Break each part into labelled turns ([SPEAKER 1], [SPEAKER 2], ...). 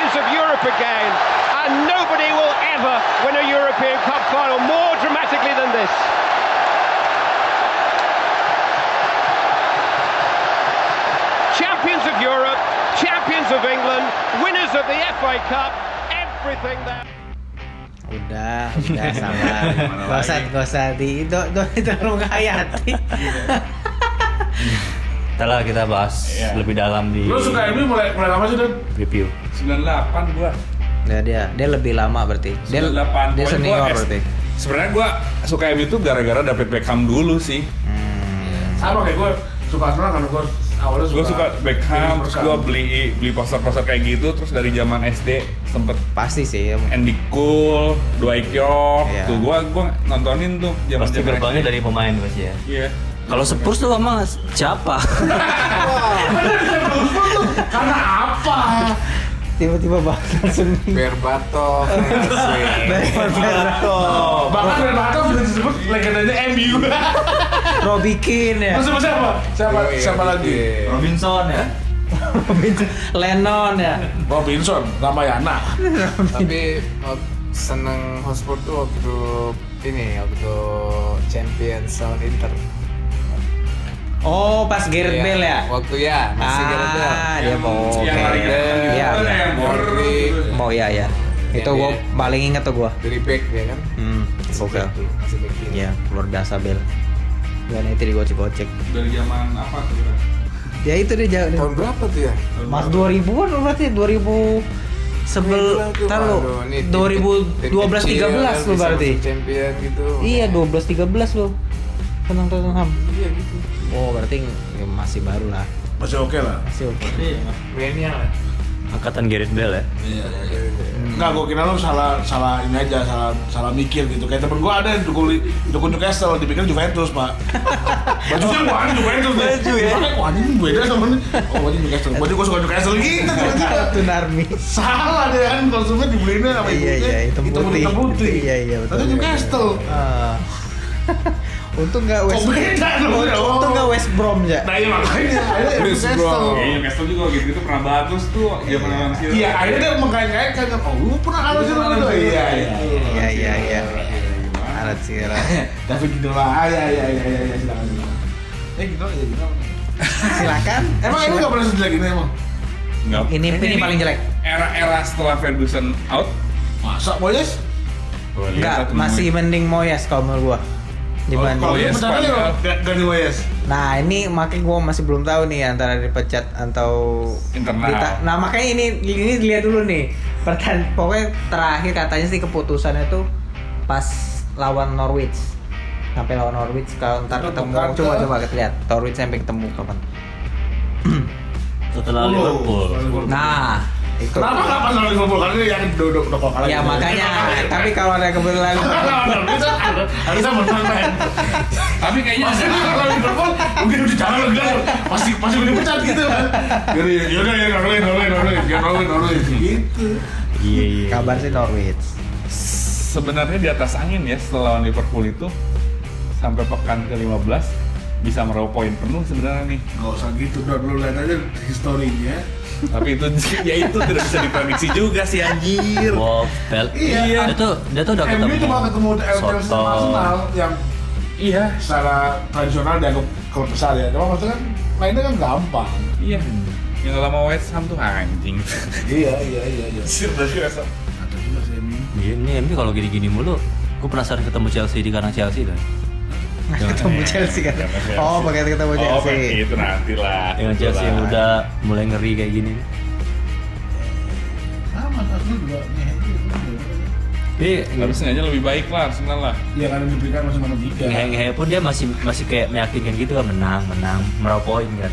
[SPEAKER 1] up again. And nobody will ever win a European Cup final more dramatically than this. Champions of Europe, champions of England, winners of the FA Cup, everything there.
[SPEAKER 2] udah udah sabar gak usah gak usah di do do terlalu menghayati
[SPEAKER 3] Setelah kita bahas
[SPEAKER 4] Iya.
[SPEAKER 3] lebih dalam di
[SPEAKER 4] Lu suka MU mulai mulai lama sih, Dan?
[SPEAKER 3] review.
[SPEAKER 4] 98 gua.
[SPEAKER 2] nah dia dia lebih lama berarti dia dia
[SPEAKER 4] 98. Pokoknya
[SPEAKER 2] senior
[SPEAKER 4] gua S-
[SPEAKER 2] berarti
[SPEAKER 4] Sebenarnya gua suka MU tuh gara-gara David Beckham dulu sih.
[SPEAKER 2] Hmm,
[SPEAKER 5] sama kayak gue suka Arsenal karena gue awalnya suka
[SPEAKER 4] Gua suka Beckham,
[SPEAKER 5] Dennis
[SPEAKER 4] terus gua beli beli poster-poster kayak gitu, terus dari zaman SD sempet
[SPEAKER 2] pasti sih ya.
[SPEAKER 4] Andy Cole, Dwight York,
[SPEAKER 2] Iya.
[SPEAKER 4] tuh gua gua nontonin tuh zaman
[SPEAKER 3] Pasti
[SPEAKER 4] zaman
[SPEAKER 3] gerbangnya dari pemain pasti ya.
[SPEAKER 4] Iya.
[SPEAKER 3] Kalau Spurs tuh sama siapa?
[SPEAKER 5] karena apa
[SPEAKER 2] tiba-tiba bakal seni
[SPEAKER 6] Berbatov,
[SPEAKER 4] Iya.
[SPEAKER 5] Oh, bahkan Ren Barto sudah disebut legendanya MU
[SPEAKER 4] Iya.
[SPEAKER 2] Robikin ya
[SPEAKER 5] terus sama siapa siapa
[SPEAKER 2] Oh, iya,
[SPEAKER 5] siapa lagi
[SPEAKER 3] Robinson ya.
[SPEAKER 2] Lennon ya
[SPEAKER 5] Robinson Ramayana
[SPEAKER 6] Tapi wak- seneng Hotspur tuh waktu ini waktu Champions Sound Inter.
[SPEAKER 2] oh pas Gareth
[SPEAKER 6] Iya,
[SPEAKER 2] Bale ya
[SPEAKER 6] Waktu ya masih Gareth Bale.
[SPEAKER 2] ah dia mau
[SPEAKER 4] yang
[SPEAKER 2] oke.
[SPEAKER 4] lari ke depan gitu
[SPEAKER 2] Iya,
[SPEAKER 4] kan,
[SPEAKER 2] iya.
[SPEAKER 4] yang
[SPEAKER 6] Modric.
[SPEAKER 4] border.
[SPEAKER 2] mau ya ya itu
[SPEAKER 6] Iya,
[SPEAKER 2] gua
[SPEAKER 6] iya.
[SPEAKER 2] paling inget tuh gua
[SPEAKER 6] Dari back ya kan.
[SPEAKER 2] hmm
[SPEAKER 4] Iya.
[SPEAKER 6] Masih
[SPEAKER 2] oke
[SPEAKER 6] back kiri, Masih back kiri.
[SPEAKER 2] ya luar biasa Bale Iya, dan itu di gocek gocek
[SPEAKER 4] dari zaman apa tuh? Ren?
[SPEAKER 2] ya itu dia jauh
[SPEAKER 6] Tahun berapa tuh ya?
[SPEAKER 2] Mas 2000-an berarti 2000 sebel
[SPEAKER 6] Itulah tuh,
[SPEAKER 2] tar lu
[SPEAKER 6] aduh, ini tim- tim
[SPEAKER 2] 2012
[SPEAKER 6] kecil,
[SPEAKER 2] 13 lu
[SPEAKER 6] bisa
[SPEAKER 2] berarti.
[SPEAKER 6] masuk Champion gitu.
[SPEAKER 2] Iya 12 13 lu. Tenang Tottenham.
[SPEAKER 6] Iya gitu.
[SPEAKER 2] Oh, berarti ya, masih baru lah.
[SPEAKER 5] masih oke lah
[SPEAKER 2] Masih oke.
[SPEAKER 4] Iya,
[SPEAKER 6] Milenial ya. lah.
[SPEAKER 3] Angkatan Gareth Bale ya.
[SPEAKER 5] Enggak, gue kira lu salah salah ini aja, salah salah mikir gitu. Kayak temen gue ada yang dukung dukung Newcastle, dipikir Juventus pak. Bajunya
[SPEAKER 4] kan
[SPEAKER 5] wah ini Juventus deh. Baju ya. Wah ini beda sama ini. Oh baju Newcastle. Baju gue suka Newcastle gitu. ternyata.
[SPEAKER 2] Tunarmi.
[SPEAKER 5] Salah deh kan konsumen dibeliinnya sama
[SPEAKER 2] Iya, iya, hitam putih.
[SPEAKER 5] hitam putih.
[SPEAKER 2] Iya, iya, betul,
[SPEAKER 5] Tapi
[SPEAKER 2] iya,
[SPEAKER 5] Newcastle.
[SPEAKER 2] Ah. Untung enggak West.
[SPEAKER 5] Oh, beda dong, ya. Oh.
[SPEAKER 2] Untung enggak West Brom ya.
[SPEAKER 5] Nah iya makanya. akhirnya
[SPEAKER 6] Chris
[SPEAKER 5] Newcastle.
[SPEAKER 6] Brown.
[SPEAKER 4] Iya, Newcastle juga gitu-gitu pernah bagus tuh zaman zaman sih.
[SPEAKER 5] Iya, akhirnya dia mengkait-kaitkan kan, oh lu pernah ada sih lu Iya, iya.
[SPEAKER 2] Iya, iya, iya. Alat sirah.
[SPEAKER 5] Tapi gitu lah, iya, iya, iya, iya, iya, silakan. silakan. Eh gitu aja, gitu.
[SPEAKER 2] Silakan.
[SPEAKER 5] Emang ini nggak pernah sejelek ini emang?
[SPEAKER 4] Nggak.
[SPEAKER 2] Ini ini paling jelek.
[SPEAKER 4] Era-era setelah Ferguson out.
[SPEAKER 5] Masa Moyes?
[SPEAKER 4] Gua lihat
[SPEAKER 2] Enggak,
[SPEAKER 4] satu
[SPEAKER 2] masih
[SPEAKER 4] momen.
[SPEAKER 2] mending Moyes kalau menurut gua. Dibanding
[SPEAKER 5] Kalau
[SPEAKER 4] Moyes,
[SPEAKER 5] Moyes benar
[SPEAKER 4] Van Gaal.
[SPEAKER 5] ya, ganti Moyes.
[SPEAKER 2] Nah ini makanya gue masih belum tahu nih antara dipecat atau
[SPEAKER 4] Internal.
[SPEAKER 2] Nah makanya ini ini dilihat dulu nih. Pertan pokoknya terakhir katanya sih keputusannya tuh pas lawan Norwich. Sampai lawan Norwich kalau ntar
[SPEAKER 5] Tetap
[SPEAKER 2] ketemu
[SPEAKER 5] bukan,
[SPEAKER 2] coba
[SPEAKER 5] kan?
[SPEAKER 2] coba kita lihat Norwich sampai ketemu kapan.
[SPEAKER 3] Setelah Liverpool.
[SPEAKER 2] Nah itu.
[SPEAKER 5] Kenapa nggak pas lawan Liverpool? Karena dia yang udah udah- udah kok kalah.
[SPEAKER 2] Ya
[SPEAKER 5] gitu.
[SPEAKER 2] makanya. tapi kalau ada kebetulan
[SPEAKER 5] Lawan Liverpool kan harusnya menang men.
[SPEAKER 4] Tapi kayaknya
[SPEAKER 5] Pasti kan kalau lawan Liverpool mungkin udah jangan lo bilang pasti pasti udah dipecat gitu kan. Jadi ya udah ya Norway Norway Norway ya Norway Norway gitu.
[SPEAKER 3] Iya iya.
[SPEAKER 2] kabar sih Norwich.
[SPEAKER 4] sebenarnya di atas angin ya setelah lawan Liverpool itu sampai pekan ke-15 bisa meraup poin penuh sebenarnya nih.
[SPEAKER 5] Gak usah gitu, udah lu lihat aja historinya.
[SPEAKER 4] Tapi itu ya itu tidak bisa diprediksi juga sih anjir.
[SPEAKER 3] Wolf Bale.
[SPEAKER 5] Iya.
[SPEAKER 3] Dia tuh dia tuh udah
[SPEAKER 5] MU
[SPEAKER 3] ketemu.
[SPEAKER 5] cuma ketemu LTM
[SPEAKER 3] Soton.
[SPEAKER 5] sama Arsenal yang
[SPEAKER 4] Iya,
[SPEAKER 5] secara tradisional dianggap klub besar ya. Cuma maksudnya kan lainnya kan gampang.
[SPEAKER 4] iya. Yang lama West Ham tuh anjing.
[SPEAKER 5] Iya iya iya iya.
[SPEAKER 4] Anjir, dari West Ham.
[SPEAKER 5] Ada juga sih MU.
[SPEAKER 3] Iya, ini MU kalau gini-gini mulu, gue penasaran ketemu Chelsea di kandang Chelsea kan.
[SPEAKER 2] ketemu Chelsea kan.
[SPEAKER 4] Ketemu Chelsea.
[SPEAKER 2] Oh pakai ketemu
[SPEAKER 4] Oh,
[SPEAKER 2] Chelsea.
[SPEAKER 4] berarti itu nanti lah.
[SPEAKER 3] Dengan Iya, Chelsea yang udah mulai ngeri kayak gini.
[SPEAKER 5] Sama Arsenal Ah, juga gitu, nih.
[SPEAKER 3] Jadi
[SPEAKER 4] Harusnya aja lebih baik lah Arsenal lah.
[SPEAKER 5] Ya karena diberikan masih nomor tiga.
[SPEAKER 3] ngehe-ngehe pun dia masih masih kayak meyakinkan gitu kan menang, menang, meraup poin kan.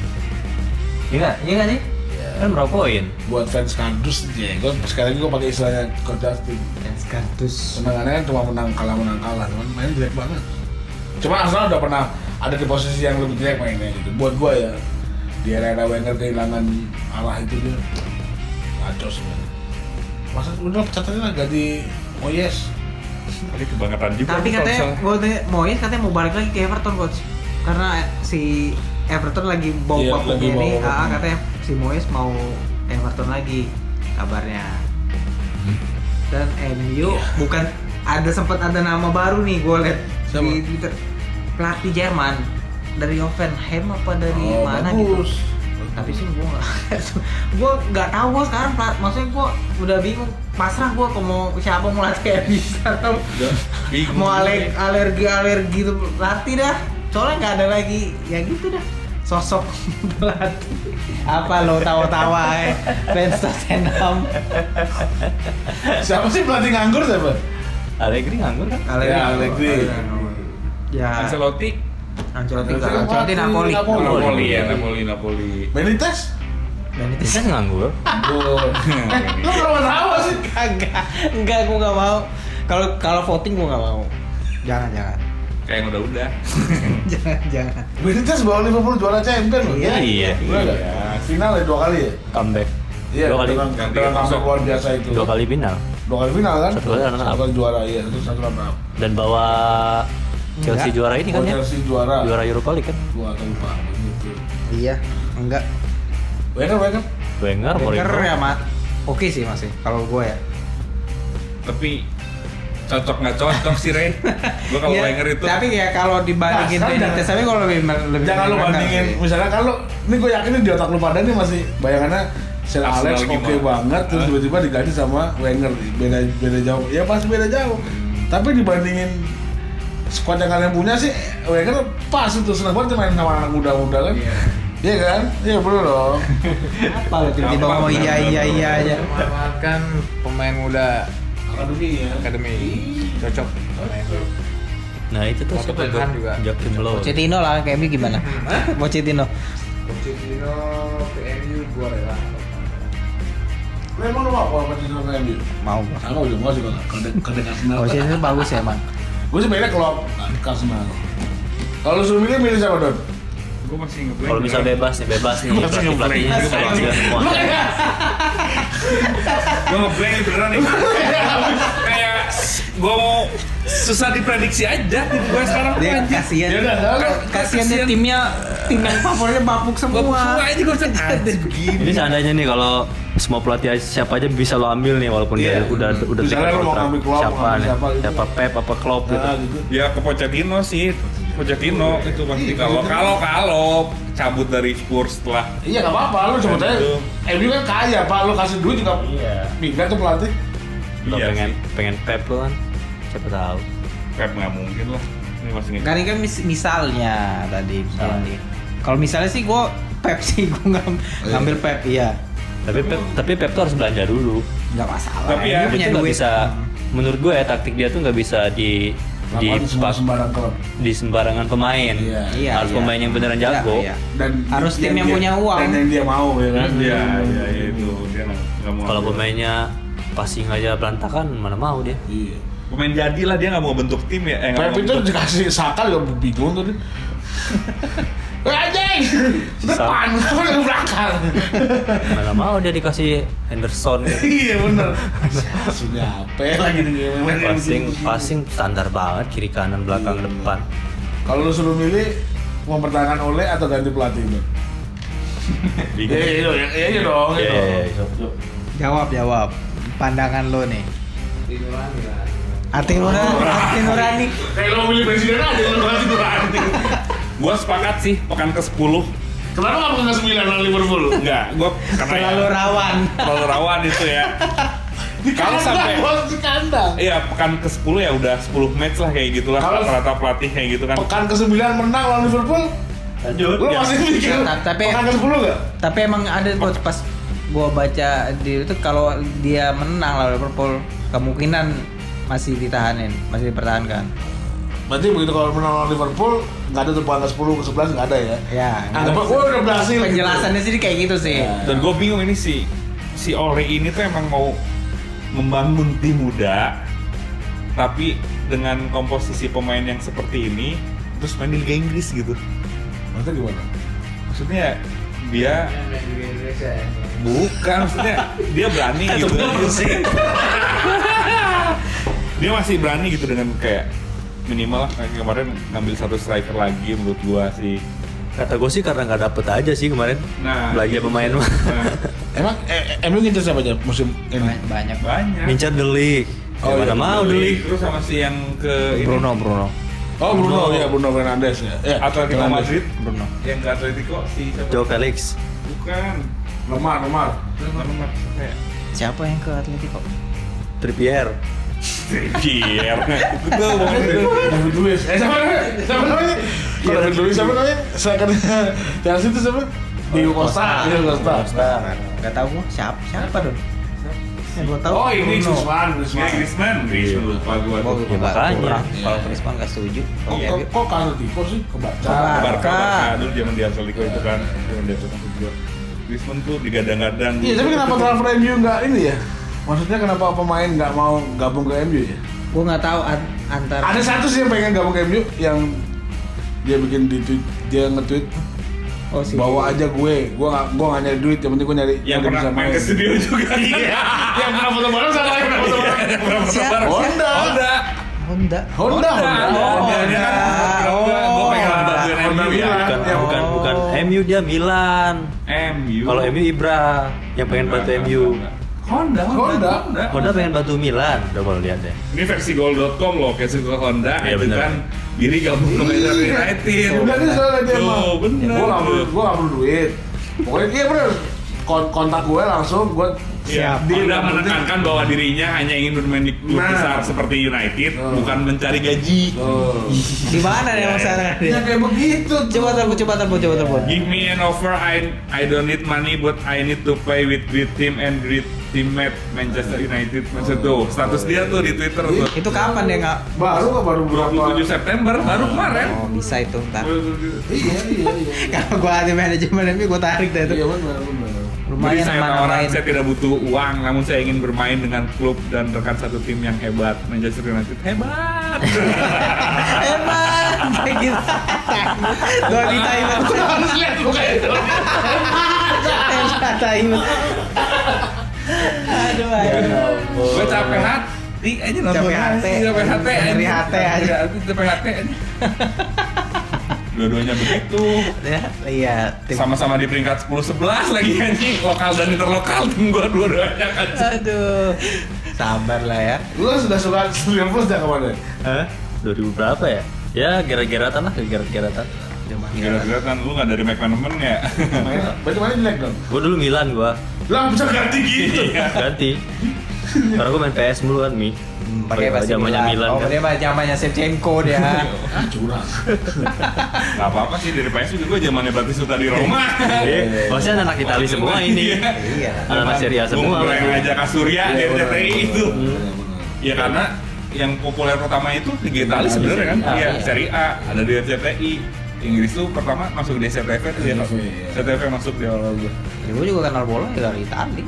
[SPEAKER 3] Iya nggak? Iya nggak sih? Kan meraup poin.
[SPEAKER 5] Buat fans kardus aja. Gue sekali lagi gue pakai istilahnya kardusting.
[SPEAKER 2] Fans Kardus.
[SPEAKER 5] Senangannya cuma menang kalah menang kalah. Cuman mainnya jelek banget. Cuma Arsenal udah pernah ada di posisi yang lebih jelek mainnya gitu. Buat gue ya di era-era Wenger kehilangan arah itu dia kacau sebenarnya. Masa udah pecat aja lah ganti oh yes
[SPEAKER 4] Tapi kebangetan juga.
[SPEAKER 2] Tapi
[SPEAKER 4] kalau
[SPEAKER 2] katanya
[SPEAKER 4] misalnya.
[SPEAKER 2] gue Moyes katanya mau balik lagi ke Everton coach. Karena si Everton lagi bawa
[SPEAKER 5] Iya,
[SPEAKER 2] yeah,
[SPEAKER 5] lagi
[SPEAKER 2] ini,
[SPEAKER 5] bawa
[SPEAKER 2] ah,
[SPEAKER 5] Pogba.
[SPEAKER 2] katanya si Moyes mau Everton lagi kabarnya.
[SPEAKER 5] Hmm.
[SPEAKER 2] dan MU
[SPEAKER 5] Iya.
[SPEAKER 2] bukan ada sempat ada nama baru nih gue liat
[SPEAKER 5] Siapa?
[SPEAKER 2] di Twitter pelatih Jerman dari Hoffenheim apa dari
[SPEAKER 5] Oh,
[SPEAKER 2] mana
[SPEAKER 5] bagus.
[SPEAKER 2] gitu tapi sih gue nggak gue nggak tahu gua sekarang pelat maksudnya gue udah bingung pasrah gue ke mau siapa mau latih MU sekarang
[SPEAKER 4] Bingung.
[SPEAKER 2] mau ale- alergi alergi tuh latih dah soalnya nggak ada lagi ya gitu dah sosok pelatih apa lo tawa-tawa eh fans Tottenham
[SPEAKER 5] Siapa sih pelatih nganggur siapa?
[SPEAKER 3] Allegri nganggur kan?
[SPEAKER 2] Alergi.
[SPEAKER 5] Ya, Allegri.
[SPEAKER 2] ya
[SPEAKER 4] Ancelotti
[SPEAKER 2] Ancelotti
[SPEAKER 5] Ancelotti
[SPEAKER 2] enggak, Ancelotti
[SPEAKER 5] mati,
[SPEAKER 2] Napoli.
[SPEAKER 5] Napoli. iya.
[SPEAKER 4] Napoli,
[SPEAKER 3] Napoli.
[SPEAKER 4] ya Napoli Napoli
[SPEAKER 5] Benitez?
[SPEAKER 2] Benitez
[SPEAKER 3] Bisa kan nganggur?
[SPEAKER 5] Nganggur. Eh, Lu kenapa tawa sih?
[SPEAKER 2] kagak. Enggak, gua enggak mau. Kalau kalau voting gua enggak mau. Jangan, jangan.
[SPEAKER 4] kayak yang udah-udah
[SPEAKER 2] jangan, jangan.
[SPEAKER 5] Benitez bawa Liverpool juara champion loh. Ya,
[SPEAKER 2] Iya,
[SPEAKER 3] iya.
[SPEAKER 5] Bener nggak? Final ya dua kali ya? Iya,
[SPEAKER 3] Comeback. dua kali
[SPEAKER 5] dengan-
[SPEAKER 4] ganti
[SPEAKER 5] dengan comeback
[SPEAKER 4] masuk.
[SPEAKER 5] luar biasa itu.
[SPEAKER 3] dua kali final
[SPEAKER 5] Dua kali final kan?
[SPEAKER 3] Satu kali runner up.
[SPEAKER 5] Satu kali juara iya, itu satu runner up.
[SPEAKER 3] dan bawa Chelsea
[SPEAKER 2] Enggak.
[SPEAKER 3] juara ini kan
[SPEAKER 5] Oh,
[SPEAKER 3] ya?
[SPEAKER 5] Chelsea juara.
[SPEAKER 3] Juara Europa League kan?
[SPEAKER 5] Gua agak lupa begitu.
[SPEAKER 2] Iya, enggak.
[SPEAKER 5] Wenger, Wenger.
[SPEAKER 3] Wenger,
[SPEAKER 2] Wenger
[SPEAKER 3] Mourinho.
[SPEAKER 2] ya, Mat. Oke sih masih kalau gua ya.
[SPEAKER 4] tapi cocok nggak cocok sih Ray gue kalau
[SPEAKER 2] Iya,
[SPEAKER 4] Wenger itu
[SPEAKER 2] Tapi ya kalau dibandingin
[SPEAKER 5] Nah, sekarang
[SPEAKER 2] Benitez tapi kalau lebih lebih
[SPEAKER 5] Jangan lu
[SPEAKER 2] Wenger
[SPEAKER 5] bandingin,
[SPEAKER 2] sih.
[SPEAKER 5] misalnya kalau ini gue yakin di otak lu pada nih masih bayangannya Sir
[SPEAKER 4] Arsenal
[SPEAKER 5] Alex oke
[SPEAKER 4] gimana?
[SPEAKER 5] banget, terus
[SPEAKER 4] Hah?
[SPEAKER 5] tiba-tiba diganti sama Wenger beda beda jauh, ya pasti beda jauh. Tapi dibandingin squad yang kalian punya sih, Wenger pas itu senang banget main sama anak muda-muda kan.
[SPEAKER 4] Iya.
[SPEAKER 5] Iya kan? Iya bener dong.
[SPEAKER 2] Apa lu tiba-tiba
[SPEAKER 4] Gampang,
[SPEAKER 2] ngomong iya
[SPEAKER 4] gampang,
[SPEAKER 2] iya iya aja.
[SPEAKER 6] memanfaatkan pemain muda
[SPEAKER 5] Akademi ya.
[SPEAKER 6] akademi cocok pemain muda.
[SPEAKER 3] Nah itu tuh
[SPEAKER 6] Waktu
[SPEAKER 3] siapa
[SPEAKER 6] Tottenham
[SPEAKER 3] Gor-
[SPEAKER 6] juga.
[SPEAKER 3] Joachim Low.
[SPEAKER 2] Pochettino lah kayak gimana? Pochettino.
[SPEAKER 6] Pochettino ke MU gue rela
[SPEAKER 5] Lu emang lu mau apa di sama MU?
[SPEAKER 2] Mau gua.
[SPEAKER 5] Aku juga mau sih kalau kedek kedek Arsenal.
[SPEAKER 2] Pochettino bagus ya, Bang.
[SPEAKER 5] Gue sebenarnya klub ke Arsenal. Kalau lu suruh milih milih siapa Don?
[SPEAKER 4] gue masih ngeblank
[SPEAKER 3] Kalau bisa bebas nih, bebas nih.
[SPEAKER 4] Masih
[SPEAKER 3] Pelatih-pelatih
[SPEAKER 4] ngeblank.
[SPEAKER 3] Pelatih-pelatih semua.
[SPEAKER 4] gue ngeblank nih beneran nih kayak gue mau susah diprediksi aja tim gue sekarang tuh
[SPEAKER 2] Dia
[SPEAKER 4] anjing.
[SPEAKER 2] kasihan.
[SPEAKER 5] Ya udah,
[SPEAKER 4] Kan,
[SPEAKER 2] Iya, Kasihan dia timnya tim yang favoritnya bapuk
[SPEAKER 4] gue
[SPEAKER 2] semua.
[SPEAKER 4] aja gue bisa ada begini
[SPEAKER 3] Jadi seandainya nih kalau semua pelatih siapa aja bisa lo ambil nih walaupun
[SPEAKER 5] Iya.
[SPEAKER 3] dia udah udah
[SPEAKER 5] Misalnya
[SPEAKER 3] terikat
[SPEAKER 5] lo mau
[SPEAKER 3] kontrak.
[SPEAKER 5] ngambil Klopp,
[SPEAKER 3] siapa
[SPEAKER 5] ngambil
[SPEAKER 3] nih?
[SPEAKER 5] siapa
[SPEAKER 3] Siapa,
[SPEAKER 5] gitu.
[SPEAKER 3] Pep apa Klopp gitu.
[SPEAKER 5] Nah, gitu.
[SPEAKER 4] ya ke Pochettino sih Pochettino itu pasti kalau kalau kalau cabut dari Spurs setelah
[SPEAKER 5] Iya nggak apa-apa, lu cuma tanya
[SPEAKER 4] Itu.
[SPEAKER 5] MU kan kaya pak, lu kasih duit juga
[SPEAKER 2] Iya.
[SPEAKER 5] pindah tuh pelatih
[SPEAKER 3] Lo
[SPEAKER 4] Iya
[SPEAKER 3] pengen
[SPEAKER 4] sih.
[SPEAKER 3] pengen Pep lo kan. Siapa tahu.
[SPEAKER 4] Pep nggak mungkin lah ini masih nge-
[SPEAKER 2] Kan ini kan mis- misalnya tadi misalnya. Kalau misalnya sih gue Pep sih gue ngam- ngambil Pep iya
[SPEAKER 3] Tapi Pep tapi Pep tuh harus belanja dulu.
[SPEAKER 2] nggak masalah.
[SPEAKER 4] Tapi ya,
[SPEAKER 2] Dia punya
[SPEAKER 3] Dia tuh iya, nggak
[SPEAKER 2] duit.
[SPEAKER 3] bisa menurut gue ya taktik dia tuh nggak bisa di di
[SPEAKER 5] Hmm. Lakukan semua
[SPEAKER 3] pak-
[SPEAKER 5] sembarang klub
[SPEAKER 3] di sembarangan pemain.
[SPEAKER 5] Iya.
[SPEAKER 2] Iya,
[SPEAKER 3] harus
[SPEAKER 2] iya.
[SPEAKER 3] pemain yang beneran jago.
[SPEAKER 2] Iya, iya.
[SPEAKER 5] dan
[SPEAKER 2] Harus tim yang
[SPEAKER 5] dia-
[SPEAKER 2] punya uang.
[SPEAKER 5] dan yang dia mau ya kan
[SPEAKER 4] Iya, iya, iya, itu dia nggak mau.
[SPEAKER 3] Kalau pemainnya passing aja berantakan mana mau dia.
[SPEAKER 5] Iya.
[SPEAKER 4] pemain jadi lah dia nggak mau bentuk tim ya. Eh, nggak
[SPEAKER 5] Pep
[SPEAKER 4] mau
[SPEAKER 5] itu
[SPEAKER 4] bentuk-
[SPEAKER 5] dikasih Saka juga bingung tuh dia Eh anjing! Depan, sama di belakang
[SPEAKER 3] Mana mau dia dikasih Henderson. gitu.
[SPEAKER 5] Iya bener Sudah apa lagi nih main yang
[SPEAKER 3] passing
[SPEAKER 5] begitu.
[SPEAKER 3] passing standar banget kiri kanan belakang depan.
[SPEAKER 5] Kalau lu suruh milih mempertahankan oleh atau ganti pelatih Bang?
[SPEAKER 4] Bingung.
[SPEAKER 5] Iya iya dong, iya iya dong iya
[SPEAKER 3] Iya,
[SPEAKER 5] dong.
[SPEAKER 3] iya, iya.
[SPEAKER 2] Jawab jawab. Pandangan lo nih.
[SPEAKER 6] Nurani lah
[SPEAKER 2] Hati nurani, hati nurani.
[SPEAKER 5] Kayak lu milih presiden aja, lu ganti pelatih
[SPEAKER 4] Gua sepakat sih pekan ke 10
[SPEAKER 5] Kenapa nggak pernah sembilan lawan Liverpool?
[SPEAKER 4] Enggak, gua karena ya,
[SPEAKER 2] Terlalu rawan.
[SPEAKER 4] terlalu rawan itu ya.
[SPEAKER 5] Di
[SPEAKER 4] Kalau
[SPEAKER 5] kandang,
[SPEAKER 4] sampai-
[SPEAKER 5] bos, di kandang.
[SPEAKER 4] Iya, pekan ke 10 ya udah 10 match lah kayak gitulah
[SPEAKER 5] Kalau-
[SPEAKER 4] rata-rata pelatih kayak gitu kan.
[SPEAKER 5] Pekan ke-9 menang lawan Liverpool,
[SPEAKER 4] Lanjut.
[SPEAKER 5] lu masih mikir
[SPEAKER 2] Ta- tapi-
[SPEAKER 5] pekan ke-10 nggak?
[SPEAKER 2] Tapi emang ada gue pas gue baca di itu kalau dia menang lawan Liverpool kemungkinan masih ditahanin, masih dipertahankan.
[SPEAKER 5] Berarti begitu kalau menang lawan Liverpool, nggak ada tuh pekan ke-10 ke-11 nggak ada ya?
[SPEAKER 2] Ya.
[SPEAKER 5] Anggap gue udah berhasil. gitu.
[SPEAKER 2] Penjelasannya sih kayak gitu sih.
[SPEAKER 5] Ya.
[SPEAKER 4] Dan gue bingung ini si si Ori ini tuh emang mau membangun tim muda, tapi dengan komposisi pemain yang seperti ini, terus main di Liga Inggris gitu.
[SPEAKER 5] Maksudnya gimana?
[SPEAKER 4] Maksudnya dia
[SPEAKER 6] main di Indonesia ya
[SPEAKER 4] bukan maksudnya dia berani gitu. dia masih berani gitu dengan kayak minimal lah kayak kemarin ngambil satu striker lagi menurut gua si
[SPEAKER 3] Kata gue sih karena nggak dapet aja sih kemarin
[SPEAKER 4] Nah,
[SPEAKER 3] belanja
[SPEAKER 4] gitu.
[SPEAKER 3] pemain mah.
[SPEAKER 4] Nah,
[SPEAKER 5] Emang eh, emang ngincer siapa aja musim ini?
[SPEAKER 2] banyak
[SPEAKER 4] banyak.
[SPEAKER 3] Mincar delik.
[SPEAKER 5] Oh,
[SPEAKER 3] Oh,
[SPEAKER 5] iya,
[SPEAKER 3] mana mau
[SPEAKER 4] Beli.
[SPEAKER 3] delik.
[SPEAKER 4] Terus sama si yang ke ini,
[SPEAKER 2] Bruno Bruno
[SPEAKER 5] Oh Bruno, ya Bruno Fernandes ya. Ya,
[SPEAKER 4] Atletico
[SPEAKER 5] Fernandes.
[SPEAKER 4] Madrid.
[SPEAKER 2] Bruno
[SPEAKER 4] Yang ke Atletico si siapa?
[SPEAKER 3] Joe Felix.
[SPEAKER 4] Bukan.
[SPEAKER 5] Lemar, Lemar.
[SPEAKER 4] Lemar Lemar. siapa ya?
[SPEAKER 2] siapa yang ke Atletico
[SPEAKER 3] Trippier.
[SPEAKER 4] Trippier. Itu bukan itu.
[SPEAKER 5] David Luiz. Eh siapa namanya? Siapa namanya? Kalau David Luiz siapa namanya? Saya kan Chelsea itu siapa? Diego Costa. Diego Costa. Nah,
[SPEAKER 2] nggak tahu gua siapa Oh, siapa dong yang gua tahu
[SPEAKER 5] Oh ini
[SPEAKER 2] Bruno.
[SPEAKER 5] Griezmann,
[SPEAKER 4] Ya
[SPEAKER 5] Griezmann.
[SPEAKER 4] Griezmann. Griezmann lupa gua
[SPEAKER 2] Gua
[SPEAKER 4] tuh.
[SPEAKER 2] gua nggak
[SPEAKER 3] makanya.
[SPEAKER 2] kurang. kalau Griezmann nggak setuju iya,
[SPEAKER 5] Kok
[SPEAKER 2] Oke,
[SPEAKER 5] kok-
[SPEAKER 2] oke.
[SPEAKER 5] kok kalau tipe sih kebaca.
[SPEAKER 2] Kebaca.
[SPEAKER 4] Barca,
[SPEAKER 2] Barca.
[SPEAKER 4] Barca dulu zaman di Atletico itu kan, zaman di Atletico gua. Griezmann tuh digadang-gadang. gitu.
[SPEAKER 5] Iya tapi kenapa transfer MU nggak ini ya? Maksudnya kenapa pemain nggak mau gabung ke MU ya?
[SPEAKER 2] gua nggak tahu an- antara
[SPEAKER 5] Ada satu sih yang pengen gabung ke MU yang dia bikin di tweet dia nge-tweet
[SPEAKER 2] oh si
[SPEAKER 5] bawa aja gue, gue nggak gue nggak nyari duit, yang penting gue nyari
[SPEAKER 4] Yang
[SPEAKER 5] nyari
[SPEAKER 4] pernah
[SPEAKER 5] bisa
[SPEAKER 4] main ke studio juga. Iya.
[SPEAKER 5] yang pernah foto bareng sama yang pernah foto bareng.
[SPEAKER 2] siapa
[SPEAKER 5] Honda.
[SPEAKER 4] Honda.
[SPEAKER 2] Honda
[SPEAKER 5] Honda, Honda,
[SPEAKER 4] Oh, Honda.
[SPEAKER 5] Honda.
[SPEAKER 4] Dia kan,
[SPEAKER 2] Oh,
[SPEAKER 4] gua- gua pegang
[SPEAKER 2] Honda.
[SPEAKER 4] bagian
[SPEAKER 5] Honda
[SPEAKER 4] MU ya.
[SPEAKER 5] Milan.
[SPEAKER 3] Bukan,
[SPEAKER 5] Ya,
[SPEAKER 3] bukan,
[SPEAKER 2] oh.
[SPEAKER 3] bukan. MU dia Milan.
[SPEAKER 4] MU.
[SPEAKER 3] Kalau MU Ibra yang pengen bantu MU.
[SPEAKER 4] Honda,
[SPEAKER 5] Honda.
[SPEAKER 3] Honda pengen bantu Milan. Udah mau lihat deh.
[SPEAKER 4] Ini versi gold.com loh, kayak suka Honda,
[SPEAKER 3] Iya,
[SPEAKER 4] itu
[SPEAKER 3] bener.
[SPEAKER 4] kan diri gabung ke
[SPEAKER 5] Iya.
[SPEAKER 4] Manchester United.
[SPEAKER 5] Udah nih soalnya dia mah.
[SPEAKER 4] Tuh, bener.
[SPEAKER 5] Gue nggak perlu, gue nggak perlu duit. Pokoknya iya bener. Kon- kontak gue langsung gue
[SPEAKER 4] Iya,
[SPEAKER 5] Deal yang
[SPEAKER 4] Honda
[SPEAKER 5] penting.
[SPEAKER 4] menekankan bahwa dirinya hanya ingin bermain di klub
[SPEAKER 5] Nah. Oh.
[SPEAKER 4] besar seperti United,
[SPEAKER 5] Tuh.
[SPEAKER 4] bukan mencari gaji.
[SPEAKER 5] Tuh.
[SPEAKER 2] di mana nih masalahnya
[SPEAKER 5] Ya kayak begitu. tuh.
[SPEAKER 2] coba telepon coba telepon coba telepon
[SPEAKER 4] Give me an offer, I I don't need money, but I need to play with great team and great teammate Manchester United. Maksud tuh, status dia tuh di Twitter
[SPEAKER 5] Iya.
[SPEAKER 4] tuh.
[SPEAKER 2] itu kapan ya nggak
[SPEAKER 5] Baru kok baru berapa?
[SPEAKER 4] 27 September baru kemarin.
[SPEAKER 2] oh bisa itu ntar
[SPEAKER 5] Iya iya iya.
[SPEAKER 2] kalau gua ada manajemen ini gua tarik deh itu
[SPEAKER 5] Iya benar benar.
[SPEAKER 2] lumayan
[SPEAKER 4] Beri
[SPEAKER 2] mana
[SPEAKER 4] saya ya, tawaran,
[SPEAKER 2] main
[SPEAKER 4] saya tidak butuh uang, namun saya ingin bermain dengan klub dan rekan satu tim yang hebat. Manchester United hebat.
[SPEAKER 2] emang kayak gitu Doni Taiman
[SPEAKER 5] Harus lihat bukan itu.
[SPEAKER 2] Doni Taiman aduh
[SPEAKER 5] Ya Iya,
[SPEAKER 2] aduh
[SPEAKER 4] Gue capek hati aja nonton.
[SPEAKER 2] Capek hati.
[SPEAKER 4] Capek hati aja.
[SPEAKER 2] Nyeri hati aja.
[SPEAKER 4] Capek hati, Capek hati aja. Dua-duanya begitu.
[SPEAKER 2] ya iya tim
[SPEAKER 4] Sama-sama di peringkat 10-11 lagi anjing. Lokal dan interlokal tim gue dua-duanya kan.
[SPEAKER 2] aduh sabar lah ya
[SPEAKER 5] Lu kan sudah suka Liverpool sejak kapan ya?
[SPEAKER 3] Hah? 2000 berapa ya? Ya gara-garatan lah, gara-garatan.
[SPEAKER 2] Iya.
[SPEAKER 4] Gara-gara kan lu gak dari McManaman ya.
[SPEAKER 5] Mainnya- Berarti mainnya jelek dong.
[SPEAKER 3] Gue dulu Milan gua
[SPEAKER 5] Lah bisa ganti gitu.
[SPEAKER 4] Iya.
[SPEAKER 3] ganti. Karena gue main PS mulu kan, Mi.
[SPEAKER 2] pakai pasti
[SPEAKER 3] Zamannya Milan
[SPEAKER 2] Milan oh
[SPEAKER 3] kan.
[SPEAKER 2] dia pakai zamannya Shevchenko dia
[SPEAKER 5] Ah, curang.
[SPEAKER 4] Gak apa-apa sih dari PS juga gue zamannya Batistuta di Roma.
[SPEAKER 3] Iya. Maksudnya anak Itali semua ini.
[SPEAKER 4] Iya.
[SPEAKER 2] iya
[SPEAKER 3] Anak Serie A semua.
[SPEAKER 4] Bung Bray aja Kasuria di RCTI itu. gitu.
[SPEAKER 5] Iya,
[SPEAKER 4] Ya karena yang populer pertama itu Liga Italia
[SPEAKER 5] Iya,
[SPEAKER 4] sebenarnya kan.
[SPEAKER 3] Serie A,
[SPEAKER 4] Iya,
[SPEAKER 3] iya.
[SPEAKER 4] Serie A ada di RCTI. Inggris tuh pertama masuk di SCTV tuh ya.
[SPEAKER 5] SCTV, iya.
[SPEAKER 4] SCTV masuk di awal gue.
[SPEAKER 2] Ya, gua juga kenal bola ya dari Itali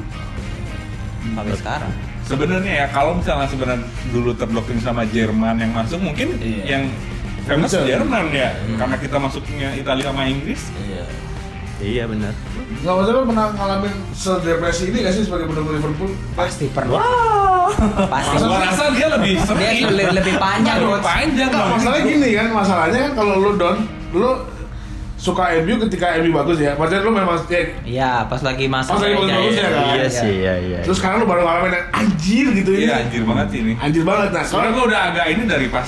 [SPEAKER 2] sampai sekarang
[SPEAKER 4] Sebenarnya ya kalau misalnya sebenarnya dulu terblokir sama Jerman yang masuk mungkin
[SPEAKER 5] Iya.
[SPEAKER 4] yang famous
[SPEAKER 5] Bisa.
[SPEAKER 4] Jerman ya karena kita masuknya Italia sama Inggris.
[SPEAKER 5] Iya.
[SPEAKER 3] Iya benar.
[SPEAKER 5] Nggak maksudnya lu pernah ngalamin sedepresi ini nggak sih sebagai pendukung Liverpool?
[SPEAKER 2] pasti pernah
[SPEAKER 4] Wow.
[SPEAKER 2] pasti
[SPEAKER 4] Gua rasa dia lebih
[SPEAKER 2] dia
[SPEAKER 4] sering.
[SPEAKER 2] lebih, lebih panjang
[SPEAKER 4] Lebih
[SPEAKER 2] coach
[SPEAKER 4] panjang.
[SPEAKER 5] Enggak,
[SPEAKER 4] dong.
[SPEAKER 5] masalahnya gini kan, masalahnya kan kalau lu down, lu suka MU ketika MU bagus ya. Maksudnya lu memang ya,
[SPEAKER 2] Iya, pas lagi E. masa
[SPEAKER 5] Pas lagi bagus-bagus ya, kan?
[SPEAKER 3] Iya sih, iya iya.
[SPEAKER 5] terus sekarang lu baru ngalamin yang anjir gitu
[SPEAKER 4] Iya
[SPEAKER 5] ya.
[SPEAKER 4] anjir banget ini.
[SPEAKER 5] Anjir banget nah. Soalnya
[SPEAKER 4] Soalnya gue udah agak ini dari pas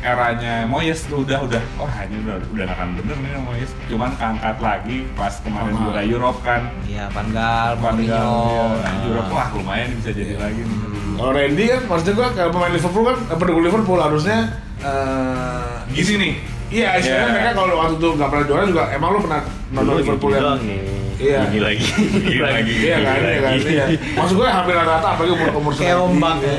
[SPEAKER 4] eranya Moyes tuh udah udah oh hanya udah udah gak akan bener nih sama Moyes cuman angkat lagi pas kemarin
[SPEAKER 5] Sama.
[SPEAKER 4] juara Europe kan
[SPEAKER 2] Iya, Van Gaal,
[SPEAKER 4] Mourinho Nah,
[SPEAKER 2] Mourinho. Nah,
[SPEAKER 4] Europe wah lumayan bisa jadi lagi nih.
[SPEAKER 5] kalau Randy kan maksudnya gua ke pemain Liverpool kan eh, pendukung Liverpool harusnya eh,
[SPEAKER 4] gini nih
[SPEAKER 5] Iya, istilahnya
[SPEAKER 4] Iya.
[SPEAKER 5] mereka kalau waktu itu nggak pernah juara juga, emang lu pernah nonton
[SPEAKER 3] Dulu
[SPEAKER 5] Liverpool
[SPEAKER 3] gitu
[SPEAKER 5] yang
[SPEAKER 3] doang nih.
[SPEAKER 5] Iya.
[SPEAKER 3] Gini lagi.
[SPEAKER 4] Gini lagi.
[SPEAKER 5] Iya kan, iya kan,
[SPEAKER 4] Lagi.
[SPEAKER 5] iya. Maksud gue hampir rata-rata apalagi umur umur
[SPEAKER 2] Kayak
[SPEAKER 5] segini.
[SPEAKER 2] ombak ya.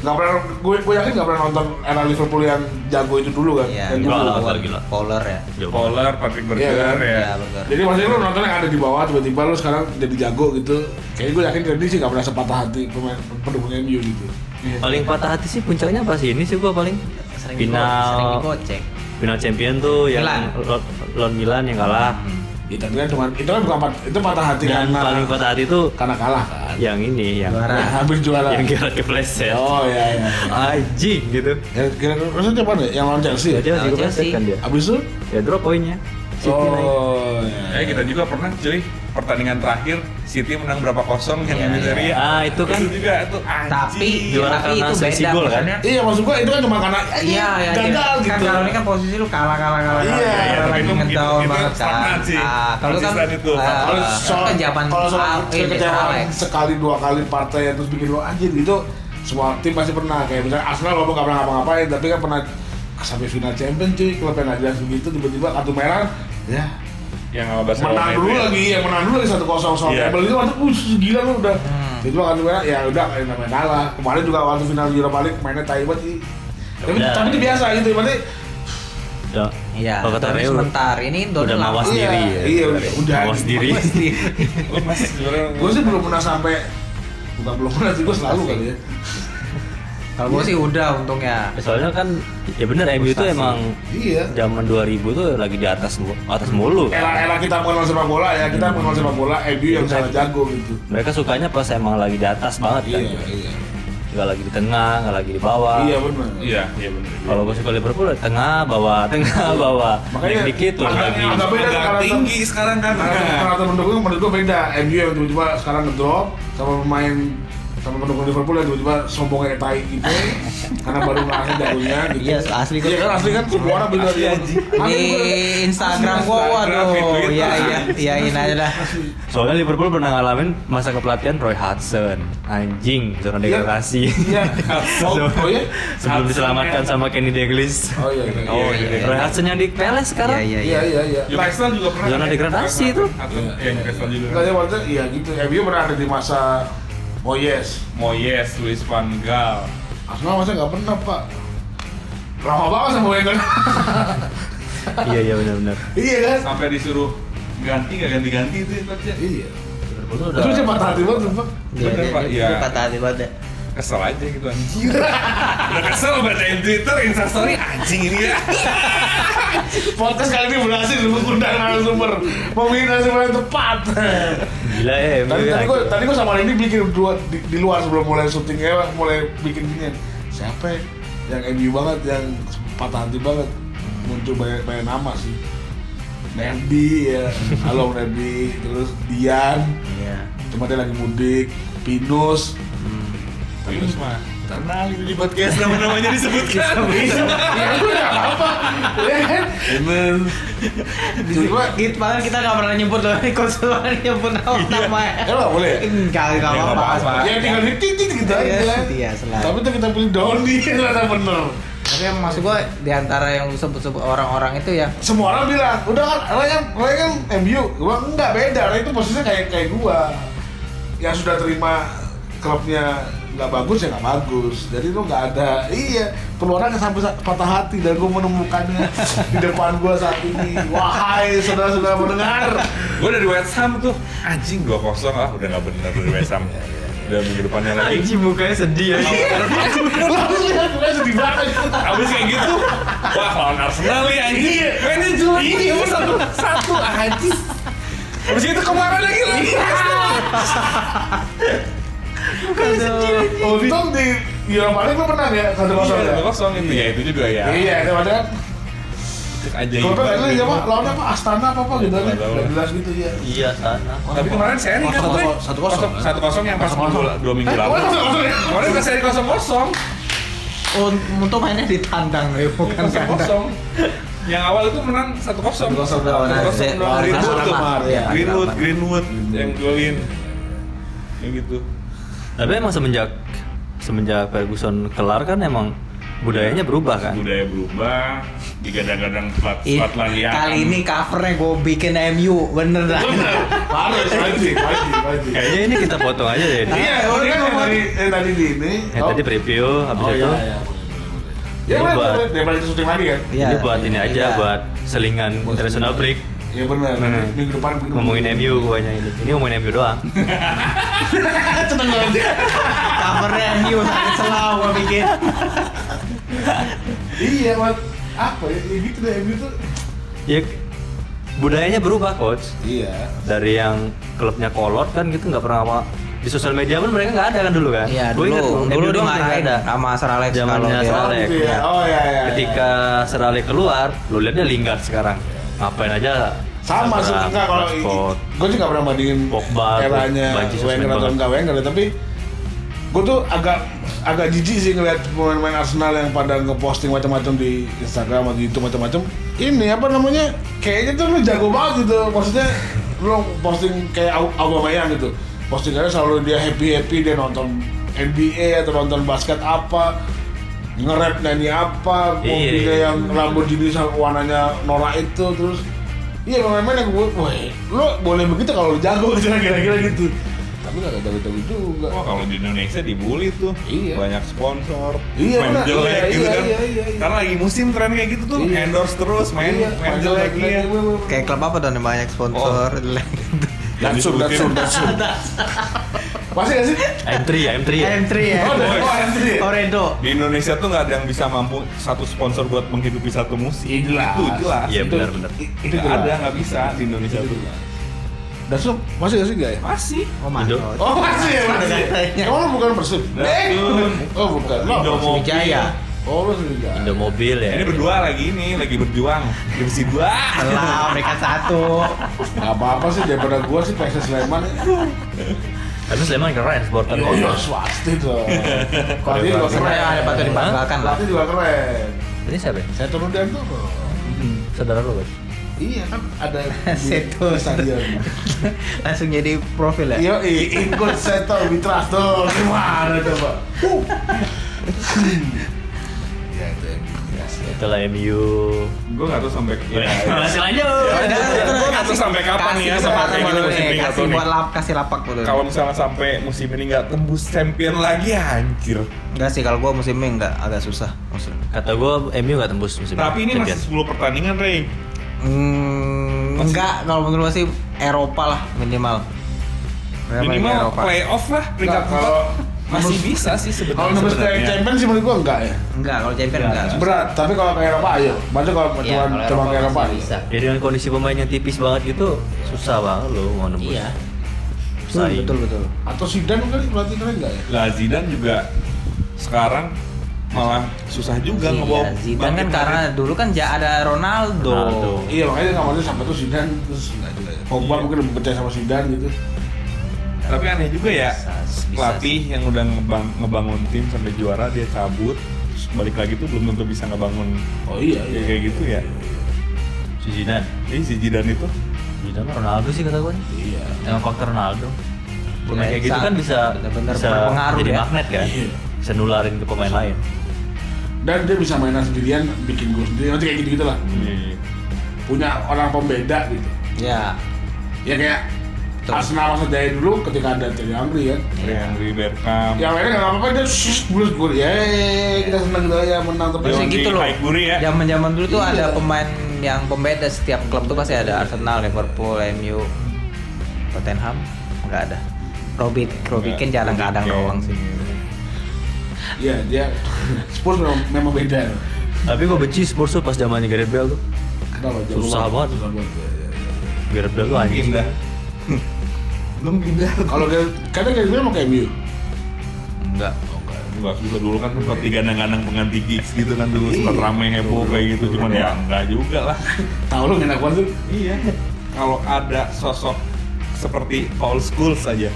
[SPEAKER 5] Gak pernah, gue, gue yakin gak pernah nonton era Liverpool yang jago itu dulu kan.
[SPEAKER 2] Iya,
[SPEAKER 5] Yang
[SPEAKER 3] Enggak
[SPEAKER 5] dulu.
[SPEAKER 3] lah,
[SPEAKER 2] Fowler.
[SPEAKER 3] gila.
[SPEAKER 2] Fowler ya.
[SPEAKER 3] Coba.
[SPEAKER 4] Polar, Patrick Berger
[SPEAKER 5] Iya kan?
[SPEAKER 4] ya
[SPEAKER 2] Iya, Fowler.
[SPEAKER 5] Jadi maksudnya lu nonton yang ada di bawah tiba-tiba lu sekarang jadi jago gitu. Kayaknya gue yakin Randy sih gak pernah sepatah hati pemain pendukung MU gitu.
[SPEAKER 3] Paling patah hati sih puncaknya pas ini sih gua paling
[SPEAKER 2] Sering
[SPEAKER 3] final
[SPEAKER 2] digo- sering digocek.
[SPEAKER 3] final champion tuh yang
[SPEAKER 2] Milan.
[SPEAKER 3] Lo- lawan Milan yang kalah.
[SPEAKER 5] Ya, tapi kan cuma itu kan bukan pat- itu patah hati
[SPEAKER 3] Dan
[SPEAKER 5] karena
[SPEAKER 3] paling patah hati tuh
[SPEAKER 5] karena kalah kan.
[SPEAKER 3] yang ini yang
[SPEAKER 5] Ya, hampir juara.
[SPEAKER 3] yang Gerard kepleset.
[SPEAKER 5] Oh iya iya.
[SPEAKER 3] Anjing gitu.
[SPEAKER 5] Kira-kira maksudnya siapa nih? Yang lawan Chelsea.
[SPEAKER 3] Ya
[SPEAKER 5] ya?
[SPEAKER 3] dia masih
[SPEAKER 2] Chelsea.
[SPEAKER 3] kepleset kan dia.
[SPEAKER 5] Abis itu
[SPEAKER 3] Ya drop poinnya. City lagi.
[SPEAKER 5] Oh,
[SPEAKER 4] Eh kita juga pernah cuy pertandingan terakhir City menang berapa kosong yang
[SPEAKER 3] Iya,
[SPEAKER 4] Emery.
[SPEAKER 3] iya. Ah, itu kan-
[SPEAKER 4] juga itu anjing.
[SPEAKER 2] Tapi
[SPEAKER 3] Juara
[SPEAKER 2] tapi
[SPEAKER 3] karena
[SPEAKER 2] itu
[SPEAKER 3] selisih
[SPEAKER 2] beda
[SPEAKER 3] gol, kan?
[SPEAKER 2] makanya.
[SPEAKER 5] Iya maksud gua itu kan cuma karena
[SPEAKER 2] Iya, iya.
[SPEAKER 5] gagal
[SPEAKER 2] Kan
[SPEAKER 5] gitu.
[SPEAKER 2] kalau ini kan posisi lu kalah kalah kalah.
[SPEAKER 5] Iya,
[SPEAKER 2] kalah,
[SPEAKER 5] iya,
[SPEAKER 2] kalah,
[SPEAKER 4] tapi
[SPEAKER 2] lagi
[SPEAKER 4] itu-
[SPEAKER 2] ngedown
[SPEAKER 4] itu- itu
[SPEAKER 2] banget kan.
[SPEAKER 4] standar sih.
[SPEAKER 2] Ah, kalau lu kan
[SPEAKER 4] Konsisten itu.
[SPEAKER 2] ah,
[SPEAKER 5] Kalau
[SPEAKER 2] ah,
[SPEAKER 5] soal
[SPEAKER 2] kan jawaban
[SPEAKER 5] kalau soal
[SPEAKER 2] ah, ini
[SPEAKER 5] kekecewaan
[SPEAKER 2] Alex.
[SPEAKER 5] sekali dua kali partai terus bikin lo anjir gitu semua tim pasti pernah kayak misalnya Arsenal lo gak pernah ngapa-ngapain tapi kan pernah sampai final champion cuy klubnya nggak jelas begitu tiba-tiba kartu merah ya
[SPEAKER 4] yang sama Barcelona
[SPEAKER 5] menang
[SPEAKER 4] itu
[SPEAKER 5] dulu
[SPEAKER 4] ya.
[SPEAKER 5] lagi yang menang dulu lagi satu kosong soal
[SPEAKER 4] Iya.
[SPEAKER 5] table itu waktu us gila lo udah itu kartu merah ya udah kayak namanya kalah kemarin juga waktu final Europa League mainnya tai banget sih tapi
[SPEAKER 3] Udah.
[SPEAKER 5] tapi itu biasa gitu berarti
[SPEAKER 3] Udah.
[SPEAKER 2] Iya.
[SPEAKER 3] Kalau kata
[SPEAKER 2] tapi
[SPEAKER 3] Reu,
[SPEAKER 2] sebentar ini Dortmund
[SPEAKER 3] udah
[SPEAKER 2] lama.
[SPEAKER 3] mawas diri ya.
[SPEAKER 5] iya udah
[SPEAKER 3] Mawas diri.
[SPEAKER 4] Lemas sebenarnya.
[SPEAKER 5] gue sih belum pernah sampai bukan belum pernah sih gue selalu kali ya
[SPEAKER 2] Kalau gua sih udah untungnya.
[SPEAKER 3] Soalnya kan ya benar MU itu emang
[SPEAKER 5] iya
[SPEAKER 3] zaman 2000 tuh lagi di atas mu- atas mulu kan.
[SPEAKER 5] era-era kita mengenal sepak bola ya kita mengenal sepak bola MU yang
[SPEAKER 2] Iya.
[SPEAKER 5] sangat jago gitu
[SPEAKER 3] Mereka sukanya pas emang lagi di atas banget kan.
[SPEAKER 5] iya iya
[SPEAKER 3] Nggak lagi di tengah, nggak lagi di bawah.
[SPEAKER 2] Ah.
[SPEAKER 5] iya benar
[SPEAKER 4] Iya, iya benar.
[SPEAKER 3] Kalau gue suka Liverpool tengah, bawah, tengah, bawah.
[SPEAKER 5] Iya. Makanya,
[SPEAKER 3] Naik dikit loh
[SPEAKER 5] makanya
[SPEAKER 3] lagi.
[SPEAKER 5] agak- Tapi kan
[SPEAKER 4] agak
[SPEAKER 5] kalau-
[SPEAKER 4] tinggi sekarang kan.
[SPEAKER 5] rata pendukung menurut gue beda MU yang tiba-tiba sekarang ngedrop sama pemain sama pendukung Liverpool yang tiba-tiba sombong kayak tai gitu karena baru merasa jagonya gitu
[SPEAKER 2] Iya, asli kok.
[SPEAKER 5] iya kan asli kan semua orang beda
[SPEAKER 4] Asli,
[SPEAKER 5] dia kan,
[SPEAKER 4] anjing.
[SPEAKER 2] Di Instagram gua
[SPEAKER 4] Instagram,
[SPEAKER 2] waduh.
[SPEAKER 4] di Twitter.
[SPEAKER 2] Iya iya iyain aja dah.
[SPEAKER 3] Soalnya Liverpool pernah ngalamin masa kepelatihan Roy Hudson, anjing zona
[SPEAKER 5] Iya.
[SPEAKER 3] degradasi.
[SPEAKER 5] iya oh, oh iya
[SPEAKER 3] Sebelum
[SPEAKER 4] Hudson
[SPEAKER 3] diselamatkan
[SPEAKER 4] ya.
[SPEAKER 3] sama Kenny Dalglish.
[SPEAKER 5] oh iya iya
[SPEAKER 4] Oh, iya.
[SPEAKER 3] Roy Hudson yang di
[SPEAKER 2] Iya
[SPEAKER 3] Palace sekarang.
[SPEAKER 2] iya
[SPEAKER 5] iya
[SPEAKER 2] iya.
[SPEAKER 5] iya iya
[SPEAKER 4] Juga Arsenal juga pernah.
[SPEAKER 3] Zona
[SPEAKER 4] ya?
[SPEAKER 3] degradasi itu.
[SPEAKER 4] Atau- Iya, Newcastle juga.
[SPEAKER 5] Enggak ya maksudnya iya gitu. MU pernah ada di masa Moyes.
[SPEAKER 4] Moyes, Luis Oh, Van Gaal.
[SPEAKER 5] Arsenal masa nggak pernah pak. Lama banget sama Wenger.
[SPEAKER 3] Iya iya benar-benar.
[SPEAKER 5] iya kan?
[SPEAKER 4] Sampai disuruh ganti nggak ganti-ganti itu ya, coachnya.
[SPEAKER 5] Iya.
[SPEAKER 3] Liverpool tuh
[SPEAKER 4] Nah.
[SPEAKER 5] Terus
[SPEAKER 3] udah
[SPEAKER 5] siapa hati banget sumpah.
[SPEAKER 2] Dia-
[SPEAKER 4] Bener,
[SPEAKER 2] dia-
[SPEAKER 4] Pak,
[SPEAKER 2] dia
[SPEAKER 4] iya.
[SPEAKER 2] Kata hati banget. ya. deh.
[SPEAKER 4] Kesel aja gitu anjing. Udah kesel bacain Twitter, Instastory anjing ini ya.
[SPEAKER 5] Podcast kali ini berhasil mengundang narasumber. Memilih narasumber yang tepat.
[SPEAKER 4] Iya,
[SPEAKER 3] gila ya.
[SPEAKER 5] tadi tadi
[SPEAKER 3] MU
[SPEAKER 5] gue
[SPEAKER 3] akhirnya.
[SPEAKER 5] tadi gue sama ini bikin dua di, di luar sebelum mulai syutingnya mulai bikin gini siapa ya? yang MU banget yang patah hati banget muncul banyak banyak nama sih Nerdi ya halo Nerdi terus Dian
[SPEAKER 3] Iya.
[SPEAKER 5] cuma dia lagi mudik Pinus
[SPEAKER 4] Terus mah terkenal itu di podcast nama-namanya disebutkan.
[SPEAKER 5] ya itu nggak apa-apa ya kan
[SPEAKER 4] Bener.
[SPEAKER 5] cuma
[SPEAKER 2] Git banget gitu, kita nggak pernah nyebut loh, konsumen nyebut nama nama.
[SPEAKER 5] ya nggak boleh ya?
[SPEAKER 2] Enggak enggak
[SPEAKER 4] nggak
[SPEAKER 2] apa-apa.
[SPEAKER 4] apa-apa.
[SPEAKER 5] ya tinggal di titik gitu
[SPEAKER 2] Iya,
[SPEAKER 5] aja
[SPEAKER 2] iya, selalu.
[SPEAKER 5] tapi tuh kita pilih Doni ternyata bener
[SPEAKER 2] Tapi yang maksud gua di antara yang lu sebut-sebut orang-orang itu ya
[SPEAKER 5] semua orang bilang udah kan Ryan Ryan MU gua enggak beda Ryan itu posisinya kayak kayak gua yang sudah terima klubnya nggak bagus ya nggak bagus jadi lu nggak ada iya keluaran sampai sa- patah hati dan gua menemukannya di depan gua saat ini wahai saudara-saudara mendengar
[SPEAKER 4] Gue dari West Ham tuh anjing 2-0 lah udah nggak bener dari West Ham. Udah minggu depannya lagi.
[SPEAKER 3] Iya, Anjing mukanya sedih ya.
[SPEAKER 5] Lu harus lihat gua sedih banget
[SPEAKER 4] Abis kayak gitu, wah lawan Arsenal nih anjing. Mainnya jelek. Iya, satu satu anjing. Abis itu kemarin lagi lagi.
[SPEAKER 3] Iya.
[SPEAKER 5] untung di Europa League lu menang ya satu kosong ya
[SPEAKER 4] Iya, kosong itu ya itu juga ya.
[SPEAKER 5] iya itu padahal
[SPEAKER 4] Aja.
[SPEAKER 5] kalau kan itu ya pak lawannya apa Astana apa apa gitu kan
[SPEAKER 4] Nggak tahu.
[SPEAKER 5] nggak jelas gitu ya
[SPEAKER 3] Iya sana.
[SPEAKER 4] Tapi kemarin seri kan
[SPEAKER 5] Kosong-
[SPEAKER 4] Boy?
[SPEAKER 5] kosong- satu kosong, kan?
[SPEAKER 4] Satu kosong yang pas dua, dua minggu lalu.
[SPEAKER 5] kemarin kosong-kosong ya?
[SPEAKER 4] Kemarin pas seri kosong kosong.
[SPEAKER 2] un- untuk mainnya di tandang ya bukan
[SPEAKER 4] Kosong
[SPEAKER 2] kandang.
[SPEAKER 4] kosong. Yang awal itu menang satu kosong.
[SPEAKER 5] 1-0
[SPEAKER 2] lawan
[SPEAKER 4] Satu kosong
[SPEAKER 2] AZ,
[SPEAKER 4] lawan
[SPEAKER 2] lawan
[SPEAKER 4] Greenwood tuh.
[SPEAKER 2] Arsenal, ya.
[SPEAKER 4] Greenwood, Greenwood yang golin. Yang gitu.
[SPEAKER 3] Tapi emang semenjak semenjak Ferguson kelar kan emang budayanya berubah kan.
[SPEAKER 4] Budaya berubah, digadang-gadang plat
[SPEAKER 2] Ih,
[SPEAKER 4] plat lagi.
[SPEAKER 2] Iya.
[SPEAKER 3] ya.
[SPEAKER 2] Kali ini covernya gua bikin MU bener lah.
[SPEAKER 3] Iya.
[SPEAKER 5] harus wajib wajib wajib
[SPEAKER 3] Kayaknya ini kita potong aja deh. ini.
[SPEAKER 5] Iya, oh, kan yang tadi yang tadi di ini.
[SPEAKER 3] Yang tadi preview habis
[SPEAKER 5] Oh
[SPEAKER 3] itu.
[SPEAKER 5] iya iya. Ya
[SPEAKER 3] Ini
[SPEAKER 5] kan
[SPEAKER 3] buat-
[SPEAKER 5] daripada itu syuting lagi kan.
[SPEAKER 2] Iya,
[SPEAKER 3] ini buat ini aja
[SPEAKER 2] iya.
[SPEAKER 3] buat selingan international break
[SPEAKER 5] Iya benar.
[SPEAKER 3] Hmm.
[SPEAKER 5] Minggu depan minggu
[SPEAKER 3] ngomongin MU guanya ini. Ini ngomongin MU doang.
[SPEAKER 5] Seneng banget ya.
[SPEAKER 2] covernya MU sakit selalu gua bikin.
[SPEAKER 5] Iya, buat apa ya? Ya gitu deh MU tuh.
[SPEAKER 3] ya budayanya berubah coach.
[SPEAKER 5] Iya.
[SPEAKER 3] Dari yang klubnya kolot kan gitu nggak pernah apa di sosial media pun mereka nggak ada kan dulu kan?
[SPEAKER 2] Iya
[SPEAKER 3] Gua
[SPEAKER 2] dulu
[SPEAKER 3] ingat, MU
[SPEAKER 2] dulu
[SPEAKER 3] doang mereka
[SPEAKER 2] dimarahin
[SPEAKER 3] ada.
[SPEAKER 2] sama Sir Alex
[SPEAKER 3] Zamannya
[SPEAKER 2] kalau dia-
[SPEAKER 3] Sir Alex.
[SPEAKER 5] Ya, gitu Oh iya iya.
[SPEAKER 3] Ketika Serale keluar, lu lihat dia Lingard sekarang. ngapain aja
[SPEAKER 5] sama sih
[SPEAKER 3] serang,
[SPEAKER 5] enggak kalau
[SPEAKER 3] transport.
[SPEAKER 5] gue sih nggak pernah bandingin
[SPEAKER 3] Pogba,
[SPEAKER 5] eranya
[SPEAKER 3] Banci sosmed
[SPEAKER 5] Wenger atau
[SPEAKER 3] banget.
[SPEAKER 5] enggak Wenger ya, tapi gue tuh agak agak jijik sih ngeliat pemain-pemain Arsenal yang pada ngeposting macam-macam di Instagram atau YouTube macam-macam ini apa namanya kayaknya tuh lu jago banget gitu maksudnya lu posting kayak Au- Aubameyang gitu postingannya selalu dia happy happy dia nonton NBA atau nonton basket apa nge-rap nyanyi apa mobilnya
[SPEAKER 3] Iya.
[SPEAKER 5] yang Lamborghini sama warnanya Nora itu terus iya pemain-pemain yang gue wah lo boleh begitu kalau lo jago gitu kira-kira gitu tapi gak jago-jago juga
[SPEAKER 4] Wah kalau di Indonesia dibully tuh,
[SPEAKER 5] Iya.
[SPEAKER 4] banyak sponsor,
[SPEAKER 5] Iya,
[SPEAKER 4] main
[SPEAKER 5] benar.
[SPEAKER 4] jelek
[SPEAKER 5] Iya,
[SPEAKER 4] gitu
[SPEAKER 5] iya,
[SPEAKER 4] kan.
[SPEAKER 5] iya, iya, iya.
[SPEAKER 4] Karena lagi musim tren kayak gitu tuh,
[SPEAKER 5] Iya.
[SPEAKER 4] endorse terus, main
[SPEAKER 5] Iya,
[SPEAKER 4] main jelek iya.
[SPEAKER 2] Kayak klub apa dong yang banyak sponsor?
[SPEAKER 3] Oh.
[SPEAKER 2] Iya.
[SPEAKER 4] Yang
[SPEAKER 5] Datsun, Datsun,
[SPEAKER 4] disebutin.
[SPEAKER 5] Datsun. Masih gak sih?
[SPEAKER 4] Oh,
[SPEAKER 3] M3 ya M3 ya
[SPEAKER 2] M3 ya.
[SPEAKER 5] Oh,
[SPEAKER 4] iya.
[SPEAKER 5] dari oh, M3 ya?
[SPEAKER 2] Oredo.
[SPEAKER 4] Di Indonesia tuh nggak ada yang bisa mampu satu sponsor buat menghidupi satu musim.
[SPEAKER 5] Iya, jelas. Iya,
[SPEAKER 4] Itu jelas.
[SPEAKER 3] Iya
[SPEAKER 5] Itu-
[SPEAKER 3] benar-benar
[SPEAKER 5] Itu
[SPEAKER 4] Nggak ada nggak bisa di Indonesia tuh.
[SPEAKER 5] Iya.
[SPEAKER 4] Nah,
[SPEAKER 5] Datsun, masih gak sih gak ya?
[SPEAKER 4] Masih.
[SPEAKER 2] Oh, my
[SPEAKER 3] Indo.
[SPEAKER 2] God.
[SPEAKER 5] Oh masih ya, masih.
[SPEAKER 2] Katanya.
[SPEAKER 5] Emang lo bukan Persib? Eh,
[SPEAKER 4] Datsun.
[SPEAKER 5] Oh bukan, lo
[SPEAKER 3] iya.
[SPEAKER 4] Indomobile.
[SPEAKER 2] Wijaya.
[SPEAKER 5] Oh lo Sriwijaya
[SPEAKER 3] Indo mobil ya
[SPEAKER 4] Ini berdua lagi ini, lagi berjuang. Divisi dua.
[SPEAKER 2] Lah, mereka satu.
[SPEAKER 5] Gak apa-apa sih, daripada gua sih PSS Sleman
[SPEAKER 4] Iya.
[SPEAKER 3] tapi Sleman keren supporter
[SPEAKER 5] Yo yo swasti dong. Pelatih juga
[SPEAKER 3] Keren,
[SPEAKER 5] keren.
[SPEAKER 2] ada patut dibanggakan lah.
[SPEAKER 5] Pelatih juga keren.
[SPEAKER 3] ini siapa ya?
[SPEAKER 5] Saya turun dan tuh.
[SPEAKER 3] saudara lu guys
[SPEAKER 5] Iya kan ada di-
[SPEAKER 2] Seto.
[SPEAKER 5] di stadion.
[SPEAKER 2] Langsung jadi profil ya.
[SPEAKER 5] Yo ikut Seto Mitra tuh gimana coba? Huh. Ya itu yang biasa.
[SPEAKER 3] itulah MU
[SPEAKER 4] Gue nggak tahu sampai. Iya.
[SPEAKER 3] masih lanjut
[SPEAKER 4] Ya, udah, udah. Gua nggak tahu sampai kapan
[SPEAKER 2] Kasih
[SPEAKER 4] ya
[SPEAKER 2] kesempatan
[SPEAKER 4] sama kayak gitu
[SPEAKER 2] dulu
[SPEAKER 4] musim
[SPEAKER 2] nih,
[SPEAKER 4] ini nggak
[SPEAKER 2] Kasih
[SPEAKER 4] tahu
[SPEAKER 2] buat
[SPEAKER 4] nih.
[SPEAKER 2] lap, kasih lapak dulu.
[SPEAKER 4] Kalau misalnya sampai musim ini nggak tembus champion lagi, anjir.
[SPEAKER 2] Enggak sih, kalau gua musimnya enggak agak susah. Musim.
[SPEAKER 3] kata gua MU nggak tembus musim
[SPEAKER 4] Tapi ini masih
[SPEAKER 3] Champions.
[SPEAKER 4] 10 pertandingan, Rey.
[SPEAKER 2] Hmm, enggak kalau menurut gua sih Eropa lah minimal. Mereka paling
[SPEAKER 4] Minimal playoff lah peringkat
[SPEAKER 5] Nggak,
[SPEAKER 4] kalau
[SPEAKER 5] Nah, kalau-
[SPEAKER 4] masih bisa sih
[SPEAKER 5] Kalau
[SPEAKER 4] sebenarnya.
[SPEAKER 5] nembus ke
[SPEAKER 4] sebenarnya.
[SPEAKER 5] champion sih menurut gua enggak ya.
[SPEAKER 2] Enggak, kalau champion enggak.
[SPEAKER 5] Berat, tapi kalau ke Eropa ayo. Maksudnya kalau
[SPEAKER 7] Iya,
[SPEAKER 5] cuma
[SPEAKER 7] kalau
[SPEAKER 5] cuma ke
[SPEAKER 7] Eropa
[SPEAKER 5] Eropa iya.
[SPEAKER 7] masih
[SPEAKER 5] ayo.
[SPEAKER 7] bisa.
[SPEAKER 3] ya dengan kondisi pemain yang tipis banget gitu susah banget lo mau nembus
[SPEAKER 7] Iya.
[SPEAKER 2] Betul,
[SPEAKER 3] saing
[SPEAKER 2] betul, betul.
[SPEAKER 5] Atau Zidane kali pelatih keren enggak ya?
[SPEAKER 4] Lah Zidane juga sekarang malah susah juga ngebawa
[SPEAKER 7] Iya, Zidane
[SPEAKER 2] Bahkan
[SPEAKER 4] bangkit
[SPEAKER 2] karena dulu kan ja- ada Ronaldo.
[SPEAKER 3] Ronaldo.
[SPEAKER 5] Iya makanya dia nggak mau dia sampai tuh Zidane terus nggak juga ya. Pogba
[SPEAKER 4] Iya.
[SPEAKER 5] mungkin lebih percaya sama Zidane gitu.
[SPEAKER 4] Tapi aneh juga ya
[SPEAKER 3] Bisa- bisa
[SPEAKER 4] pelatih yang udah ngebang- ngebangun tim sampai juara dia cabut terus balik lagi tuh belum tentu bisa ngebangun
[SPEAKER 5] Oh iya
[SPEAKER 4] ya, kayak gitu ya.
[SPEAKER 3] si Zidane
[SPEAKER 4] Ini si Zidane itu
[SPEAKER 3] Zidane mah Ronaldo sih kata gua
[SPEAKER 5] Iya.
[SPEAKER 3] dengan faktor Ronaldo
[SPEAKER 2] Ya,
[SPEAKER 3] pemain kayak gitu
[SPEAKER 2] sangat-
[SPEAKER 3] kan bisa
[SPEAKER 2] benar-benar
[SPEAKER 3] bisa
[SPEAKER 2] berpengaruh
[SPEAKER 3] jadi
[SPEAKER 2] ya.
[SPEAKER 3] magnet kan
[SPEAKER 5] Iya.
[SPEAKER 3] bisa nularin ke pemain lain
[SPEAKER 5] Dan dia bisa mainan sendirian, bikin gol sendiri, nanti kayak gitu gitu lah.
[SPEAKER 4] Iya.
[SPEAKER 5] Punya orang pembeda gitu.
[SPEAKER 2] Ya.
[SPEAKER 5] Ya kayak
[SPEAKER 2] Betul.
[SPEAKER 5] Arsenal masa jaya dulu ketika ada Terry Angri kan.
[SPEAKER 2] Iya.
[SPEAKER 4] Henry Bergkamp.
[SPEAKER 5] Yang lainnya nggak apa-apa dia sus bulat gol. Ya kita senang gitu ya menang tapi
[SPEAKER 2] Pasti
[SPEAKER 4] Yang
[SPEAKER 2] gitu
[SPEAKER 4] di
[SPEAKER 2] loh.
[SPEAKER 4] Haikuri ya.
[SPEAKER 2] Zaman-zaman dulu tuh
[SPEAKER 5] Iya.
[SPEAKER 2] ada pemain yang pembeda setiap klub tuh pasti ada Arsenal, Liverpool, MU, Tottenham, enggak ada. Robin, Robin kan jarang kadang
[SPEAKER 4] Iya.
[SPEAKER 2] doang sih.
[SPEAKER 5] Iya dia Spurs memang, memang beda.
[SPEAKER 3] tapi gua benci Spurs tuh pas zamannya Gareth Bale tuh
[SPEAKER 5] Kenapa?
[SPEAKER 2] Iya,
[SPEAKER 5] Jago
[SPEAKER 3] Susah banget.
[SPEAKER 5] Susah banget. Ya, ya, ya.
[SPEAKER 3] Gareth Bale tuh anjing
[SPEAKER 4] Pindah. Belum pindah.
[SPEAKER 5] Kalau Gareth- karena kayak gue mau kayak MU.
[SPEAKER 2] Enggak.
[SPEAKER 4] Enggak susah dulu kan sempat digadang-gadang pengganti gigs gitu kan dulu sempat rame heboh kayak gitu cuman ya enggak juga lah.
[SPEAKER 5] Tahu lu enak banget tuh.
[SPEAKER 4] Iya. Kalau ada sosok seperti Paul Scholes saja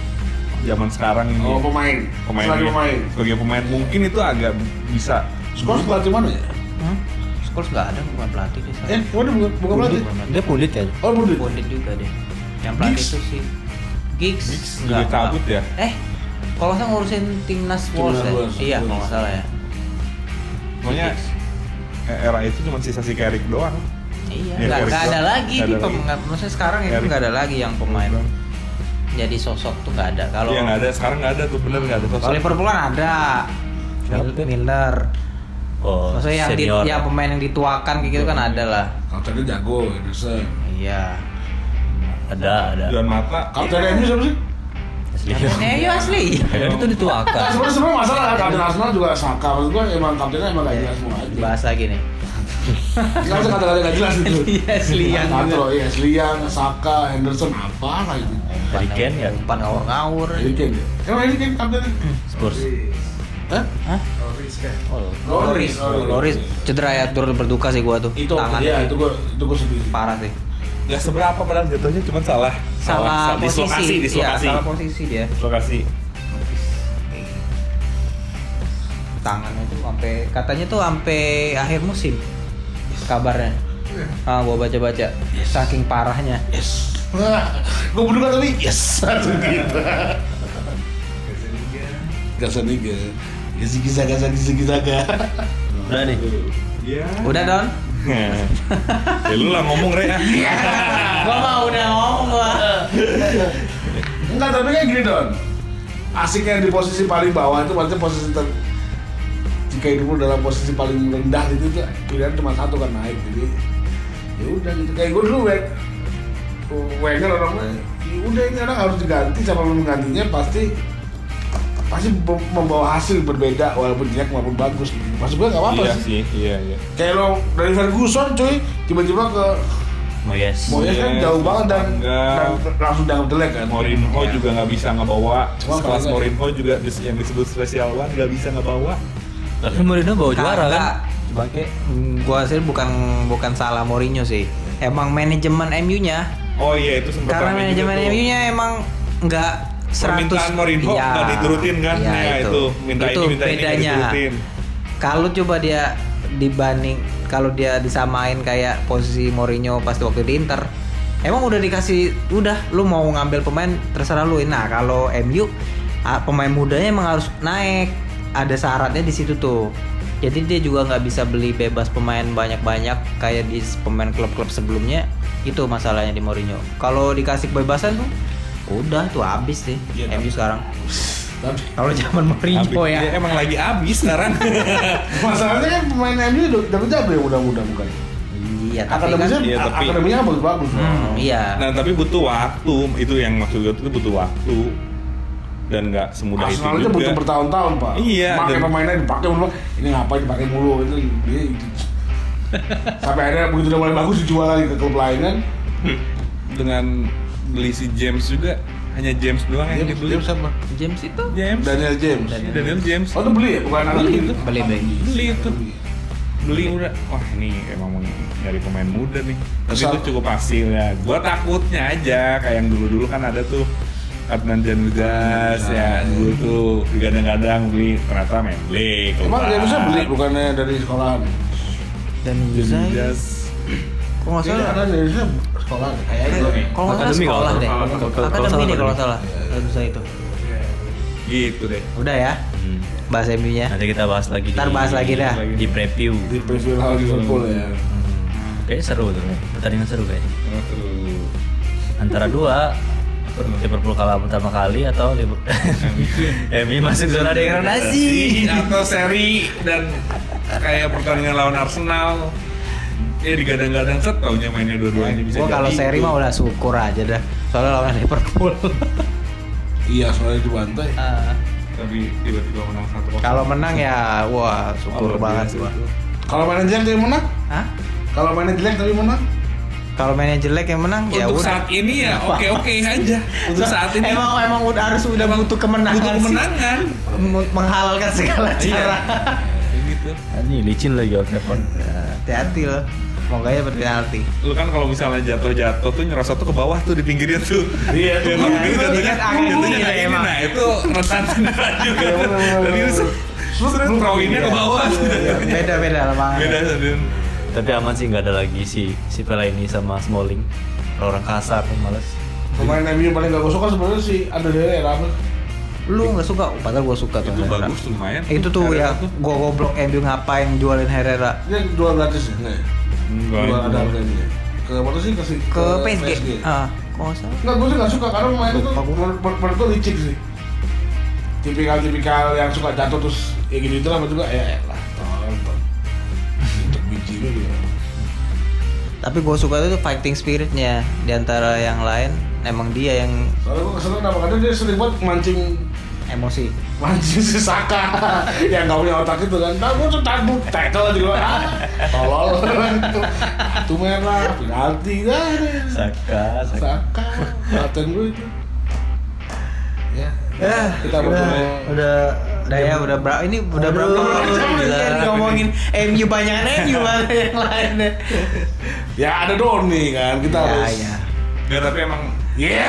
[SPEAKER 4] zaman sekarang ini
[SPEAKER 5] Oh pemain.
[SPEAKER 4] pemain
[SPEAKER 5] Selagi pemain.
[SPEAKER 4] sebagai pemain mungkin itu agak bisa
[SPEAKER 5] Skor pelatih mana ya?
[SPEAKER 2] Hmm? Scholes enggak ada bukan pelatih dia.
[SPEAKER 5] Eh, waduh bukan bukan pelatih.
[SPEAKER 3] dia pundit
[SPEAKER 2] ya?
[SPEAKER 3] kan
[SPEAKER 5] Oh, Budi.
[SPEAKER 2] Bonded juga deh. Yang pelatih
[SPEAKER 5] Giggs.
[SPEAKER 2] itu sih Giggs.
[SPEAKER 4] Giggs
[SPEAKER 2] Nggak,
[SPEAKER 4] juga cabut
[SPEAKER 2] nggak.
[SPEAKER 4] ya?
[SPEAKER 2] Eh, kalau saya ngurusin timnas Wolves ya?
[SPEAKER 5] Wolves,
[SPEAKER 2] Iya,
[SPEAKER 5] Wolves.
[SPEAKER 2] kalau nggak salah ya.
[SPEAKER 4] pokoknya e-, era itu cuma sisa si Carrick doang.
[SPEAKER 2] Iya,
[SPEAKER 4] Iya,
[SPEAKER 2] nggak
[SPEAKER 4] Eric
[SPEAKER 2] nggak ada
[SPEAKER 4] Dyer.
[SPEAKER 2] lagi
[SPEAKER 4] Nggak
[SPEAKER 2] di
[SPEAKER 4] ada
[SPEAKER 2] pem-
[SPEAKER 4] lagi.
[SPEAKER 2] nggak- maksudnya sekarang itu
[SPEAKER 4] Eric.
[SPEAKER 2] nggak ada lagi yang pemain jadi sosok tuh nggak ada. Kalau
[SPEAKER 4] Iya nggak ada sekarang nggak ada tuh bener nggak ada
[SPEAKER 2] kalau
[SPEAKER 4] sosok.
[SPEAKER 2] Liverpool kan ada
[SPEAKER 3] Siapa?
[SPEAKER 2] Mil- Milner.
[SPEAKER 3] oh
[SPEAKER 2] Maksudnya yang di,
[SPEAKER 3] senior
[SPEAKER 2] ya pemain yang dituakan kayak gitu kan ada lah.
[SPEAKER 5] Kalau tadi jago, Anderson.
[SPEAKER 2] Iya.
[SPEAKER 3] ada ada
[SPEAKER 4] Juan Mata
[SPEAKER 5] Kalau tadi MU siapa sih?
[SPEAKER 3] asli
[SPEAKER 2] Neo asli.
[SPEAKER 3] Kan itu
[SPEAKER 2] Iya.
[SPEAKER 5] Nah,
[SPEAKER 3] dituakan.
[SPEAKER 5] sebenarnya sebenarnya masalah kan kapten Arsenal juga Saka. Maksud gua emang kaptennya emang gak jelas semua aja.
[SPEAKER 2] Bahas lagi nih.
[SPEAKER 5] Kita bisa kata-kata gak jelas itu.
[SPEAKER 2] Iya, Slian.
[SPEAKER 5] Satu, iya, Slian, Saka, Henderson, apa lah itu?
[SPEAKER 3] Dari Ken ya,
[SPEAKER 2] Umpan ngawur-ngawur. Iya.
[SPEAKER 5] Harry Kane ya? Emang Harry Kane kaptennya?
[SPEAKER 3] Spurs.
[SPEAKER 5] Hah? Oh,
[SPEAKER 2] Hah?
[SPEAKER 5] Loris,
[SPEAKER 2] Loris cedera ya turut berduka sih gua tuh.
[SPEAKER 5] Itu
[SPEAKER 2] Tangan
[SPEAKER 5] ya, itu gua itu gua sedih.
[SPEAKER 2] parah sih.
[SPEAKER 4] Gak seberapa padahal jatuhnya cuma salah.
[SPEAKER 2] Salah, posisi.
[SPEAKER 4] dislokasi, dislokasi.
[SPEAKER 2] Iya, salah posisi dia.
[SPEAKER 4] dislokasi.
[SPEAKER 2] Tangannya tuh sampai katanya tuh sampai akhir musim kabarnya.
[SPEAKER 4] Iya.
[SPEAKER 2] Ah, gua baca-baca. Saking parahnya.
[SPEAKER 5] Yes. Nah, gua mendengar tadi yes satu gitu. Gasaniga. Gasigisaga, gasigisaga.
[SPEAKER 3] Udah nih.
[SPEAKER 4] Iya.
[SPEAKER 2] Udah, Don?
[SPEAKER 4] ya lu lah ngomong re ah.
[SPEAKER 2] gua mau udah ngomong gua.
[SPEAKER 5] Enggak, tapi kayak gini Don. Asiknya di posisi paling bawah itu maksudnya posisi ter jika hidup lu dalam posisi paling rendah itu tuh pilihan cuma satu kan naik jadi ya udah gitu kayak gue dulu wek Wenger orangnya ya udah ini orang harus diganti sama menggantinya pasti pasti be- membawa hasil berbeda walaupun jelek maupun bagus gitu. maksud gue nggak apa-apa
[SPEAKER 4] Iya
[SPEAKER 5] sih
[SPEAKER 4] sih, iya iya.
[SPEAKER 5] kayak lo dari Ferguson cuy tiba-tiba ke
[SPEAKER 3] Oh yes.
[SPEAKER 5] Moyes kan jauh banget dan,
[SPEAKER 4] Enggak.
[SPEAKER 5] dan langsung dianggap jelek kan
[SPEAKER 4] Mourinho juga nggak bisa ngebawa.
[SPEAKER 5] Cuma
[SPEAKER 4] Kelas
[SPEAKER 5] kalau-
[SPEAKER 4] Mourinho juga dis- yang disebut special one nggak bisa ngebawa.
[SPEAKER 3] Tapi Mourinho bawa juara kan?
[SPEAKER 2] Kagak.
[SPEAKER 3] Sebagai
[SPEAKER 2] Hmm, Gua sih bukan bukan salah Mourinho sih. Emang manajemen MU-nya
[SPEAKER 4] Oh iya itu sempat
[SPEAKER 2] karena
[SPEAKER 4] rame juga
[SPEAKER 2] manajemen
[SPEAKER 4] tuh.
[SPEAKER 2] MU-nya emang nggak 100
[SPEAKER 4] Permintaan Mourinho
[SPEAKER 2] Iya.
[SPEAKER 4] nggak diturutin kan?
[SPEAKER 2] Iya,
[SPEAKER 4] Nah, itu. Minta ini, minta ini, nggak
[SPEAKER 2] bedanya.
[SPEAKER 4] diturutin.
[SPEAKER 2] Kalau coba dia dibanding kalau dia disamain kayak posisi Mourinho pas waktu di Inter, emang udah dikasih udah lu mau ngambil pemain terserah lu. Nah, kalau MU ah, pemain mudanya emang harus naik. Ada syaratnya di situ tuh. Jadi dia juga nggak bisa beli bebas pemain banyak-banyak kayak di pemain klub-klub sebelumnya. Itu masalahnya di Mourinho. Kalau dikasih kebebasan tuh udah tuh habis sih
[SPEAKER 4] Iya,
[SPEAKER 2] MU sekarang.
[SPEAKER 5] Tapi
[SPEAKER 2] Kalau zaman Mourinho
[SPEAKER 4] Habis-
[SPEAKER 2] ya.
[SPEAKER 4] Dia emang lagi abis sekarang.
[SPEAKER 5] Masalahnya kan pemain MU udah dapat jago ya muda-muda bukan?
[SPEAKER 2] Iya, tapi kan
[SPEAKER 5] Akademinya,
[SPEAKER 4] Iya, tapi-
[SPEAKER 5] akademinya bagus-bagus.
[SPEAKER 2] Hmm, iya.
[SPEAKER 4] nah tapi butuh waktu. Itu yang maksud gue itu butuh waktu dan nggak semudah itu
[SPEAKER 5] Arsenal aja
[SPEAKER 4] juga.
[SPEAKER 5] butuh bertahun-tahun pak.
[SPEAKER 4] Iya,
[SPEAKER 5] Pakai
[SPEAKER 4] dan-
[SPEAKER 5] pemainnya dipakai mulu. Ini ngapain dipakai mulu itu dia itu. Sampai akhirnya begitu udah mulai bagus dijual lagi ke klub lain kan.
[SPEAKER 4] dengan beli si James juga hanya James doang
[SPEAKER 5] James,
[SPEAKER 4] yang Eh, dibeli.
[SPEAKER 5] James apa?
[SPEAKER 2] James itu
[SPEAKER 4] James.
[SPEAKER 5] Daniel James.
[SPEAKER 4] Si Daniel James.
[SPEAKER 5] Oh itu beli ya? Bukan anak
[SPEAKER 4] Beli
[SPEAKER 5] itu.
[SPEAKER 4] itu.
[SPEAKER 2] beli Iya, beli.
[SPEAKER 4] Beli itu. Beli udah. Wah, ini emang mau nyari pemain muda nih. Tapi
[SPEAKER 5] Kesal.
[SPEAKER 4] itu cukup hasil ya. Gua takutnya aja kayak yang dulu-dulu kan ada tuh Adnan Januzas
[SPEAKER 2] Iya.
[SPEAKER 4] ya dulu tuh digadang-gadang beli ternyata main beli.
[SPEAKER 5] Emang Jamesnya beli
[SPEAKER 4] Ah.
[SPEAKER 5] bukannya dari sekolahan?
[SPEAKER 2] Dan Zai.
[SPEAKER 4] Januzas.
[SPEAKER 2] Kok nggak
[SPEAKER 5] Iya,
[SPEAKER 2] salah?
[SPEAKER 5] karena Jamesnya sekolahan. Kayaknya gue nih.
[SPEAKER 2] Kalau nggak salah
[SPEAKER 3] Akademi
[SPEAKER 2] sekolah
[SPEAKER 3] kalau-
[SPEAKER 2] deh.
[SPEAKER 3] kalau- kalau- kalau-
[SPEAKER 2] Akademi
[SPEAKER 3] kalau-
[SPEAKER 2] deh kalau
[SPEAKER 3] kalau-
[SPEAKER 2] salah. Dan Zai itu.
[SPEAKER 4] Gitu deh.
[SPEAKER 2] Udah ya,
[SPEAKER 3] Hmm.
[SPEAKER 2] bahas MU-nya.
[SPEAKER 3] Nanti kita bahas lagi. di-
[SPEAKER 2] Ntar bahas lagi dah.
[SPEAKER 3] Di preview.
[SPEAKER 5] Di PSV lawan Liverpool ya.
[SPEAKER 3] Kayaknya seru tuh. men. Pertandingan seru kayaknya.
[SPEAKER 4] Terus
[SPEAKER 3] Antara dua Liverpool kalah pertama kali atau Liverpool MU masuk zona degradasi.
[SPEAKER 2] Iya.
[SPEAKER 4] atau seri dan kayak pertandingan lawan Arsenal ya digadang-gadang set taunya mainnya dua-duanya bisa
[SPEAKER 2] Gua kalau
[SPEAKER 4] jadi.
[SPEAKER 2] seri mah udah syukur aja dah. Soalnya lawan Liverpool.
[SPEAKER 5] Iya, soalnya dibantai.
[SPEAKER 2] Ah,
[SPEAKER 4] tapi tiba-tiba menang satu
[SPEAKER 2] Kalau menang ya, wah syukur banget gua.
[SPEAKER 5] Kalau mainnya jelek tapi menang?
[SPEAKER 2] Hah?
[SPEAKER 5] Kalau mainnya jelek tapi menang?
[SPEAKER 2] Kalau mainnya jelek yang menang ya
[SPEAKER 4] untuk
[SPEAKER 2] udah.
[SPEAKER 4] saat ini ya oke oke aja untuk saat ini
[SPEAKER 2] Emang emang udah harus udah butuh kemenangan
[SPEAKER 4] butuh
[SPEAKER 2] sih.
[SPEAKER 4] kemenangan
[SPEAKER 2] Meng- Menghalalkan segala cara.
[SPEAKER 4] gitu
[SPEAKER 3] Ini licin lagi off Ya, telepon.
[SPEAKER 2] Hati-hati loh. Semoga ya berhati-hati.
[SPEAKER 4] lu kan kalau misalnya jatuh-jatuh tuh nyerosot tuh ke bawah tuh di pinggirnya tuh iya
[SPEAKER 2] Iya, itu
[SPEAKER 4] jatuhnya
[SPEAKER 2] kan angin
[SPEAKER 4] jatuhnya
[SPEAKER 2] iya,
[SPEAKER 4] kayak gini
[SPEAKER 2] emang.
[SPEAKER 4] nah itu rentan cedera juga jadi lu set-
[SPEAKER 5] Lu-
[SPEAKER 4] seret
[SPEAKER 5] lu-
[SPEAKER 4] throwinnya ke bawah
[SPEAKER 2] Beda-beda lapangan.
[SPEAKER 4] beda dan
[SPEAKER 3] Tapi aman sih nggak ada lagi si si Pela ini sama Smalling. Orang kasar, males.
[SPEAKER 5] Pemain MU paling gak gue suka sebenarnya si Andre Herrera apa?
[SPEAKER 2] Lu nggak suka? Oh, Padahal gua suka tuh.
[SPEAKER 4] itu
[SPEAKER 2] Herrera.
[SPEAKER 4] bagus tuh lumayan
[SPEAKER 2] Itu tuh
[SPEAKER 4] Ada
[SPEAKER 2] ya,
[SPEAKER 4] satu.
[SPEAKER 2] gua goblok MU ngapain jualin Herrera
[SPEAKER 5] Dia jual gratis ya?
[SPEAKER 2] Iya.
[SPEAKER 5] Nggak ya?
[SPEAKER 4] Enggak,
[SPEAKER 5] Jual ada
[SPEAKER 4] enggak.
[SPEAKER 5] harganya. Ke mana sih? Ke, si-
[SPEAKER 2] ke PSG. Ah, kok nggak salah?
[SPEAKER 5] Enggak, gue sih gak suka karena pemain itu
[SPEAKER 2] Lupa gua.
[SPEAKER 5] menurut menurut- menurut gue licik sih. Tipikal-tipikal yang suka jatuh terus ya gitu itu lama juga ya lah. Tonton. Untuk biji lu ya.
[SPEAKER 2] Tapi gua suka tuh fighting spiritnya di antara yang lain. Emang dia yang
[SPEAKER 5] Soalnya gue kesel kenapa kadang dia sering banget mancing
[SPEAKER 2] emosi.
[SPEAKER 5] mancing si Saka yang gak punya otak itu kan. Nah, gue tuh tanggung title juga. Ah, tolol. Itu merah, penalti dah.
[SPEAKER 3] Saka, Saka.
[SPEAKER 5] Saka,
[SPEAKER 4] Eh,
[SPEAKER 5] latihan gue itu. Ya, kita berdua
[SPEAKER 2] udah udah ya udah berapa ini udah
[SPEAKER 8] Aduh,
[SPEAKER 2] berapa
[SPEAKER 8] Gila. Jadi ngomongin MU banyakan MU malah yang lainnya.
[SPEAKER 5] Ya ada Doni kan, kita
[SPEAKER 2] ya
[SPEAKER 5] harus.
[SPEAKER 2] ya
[SPEAKER 4] Nggak, tapi emang
[SPEAKER 5] Iya.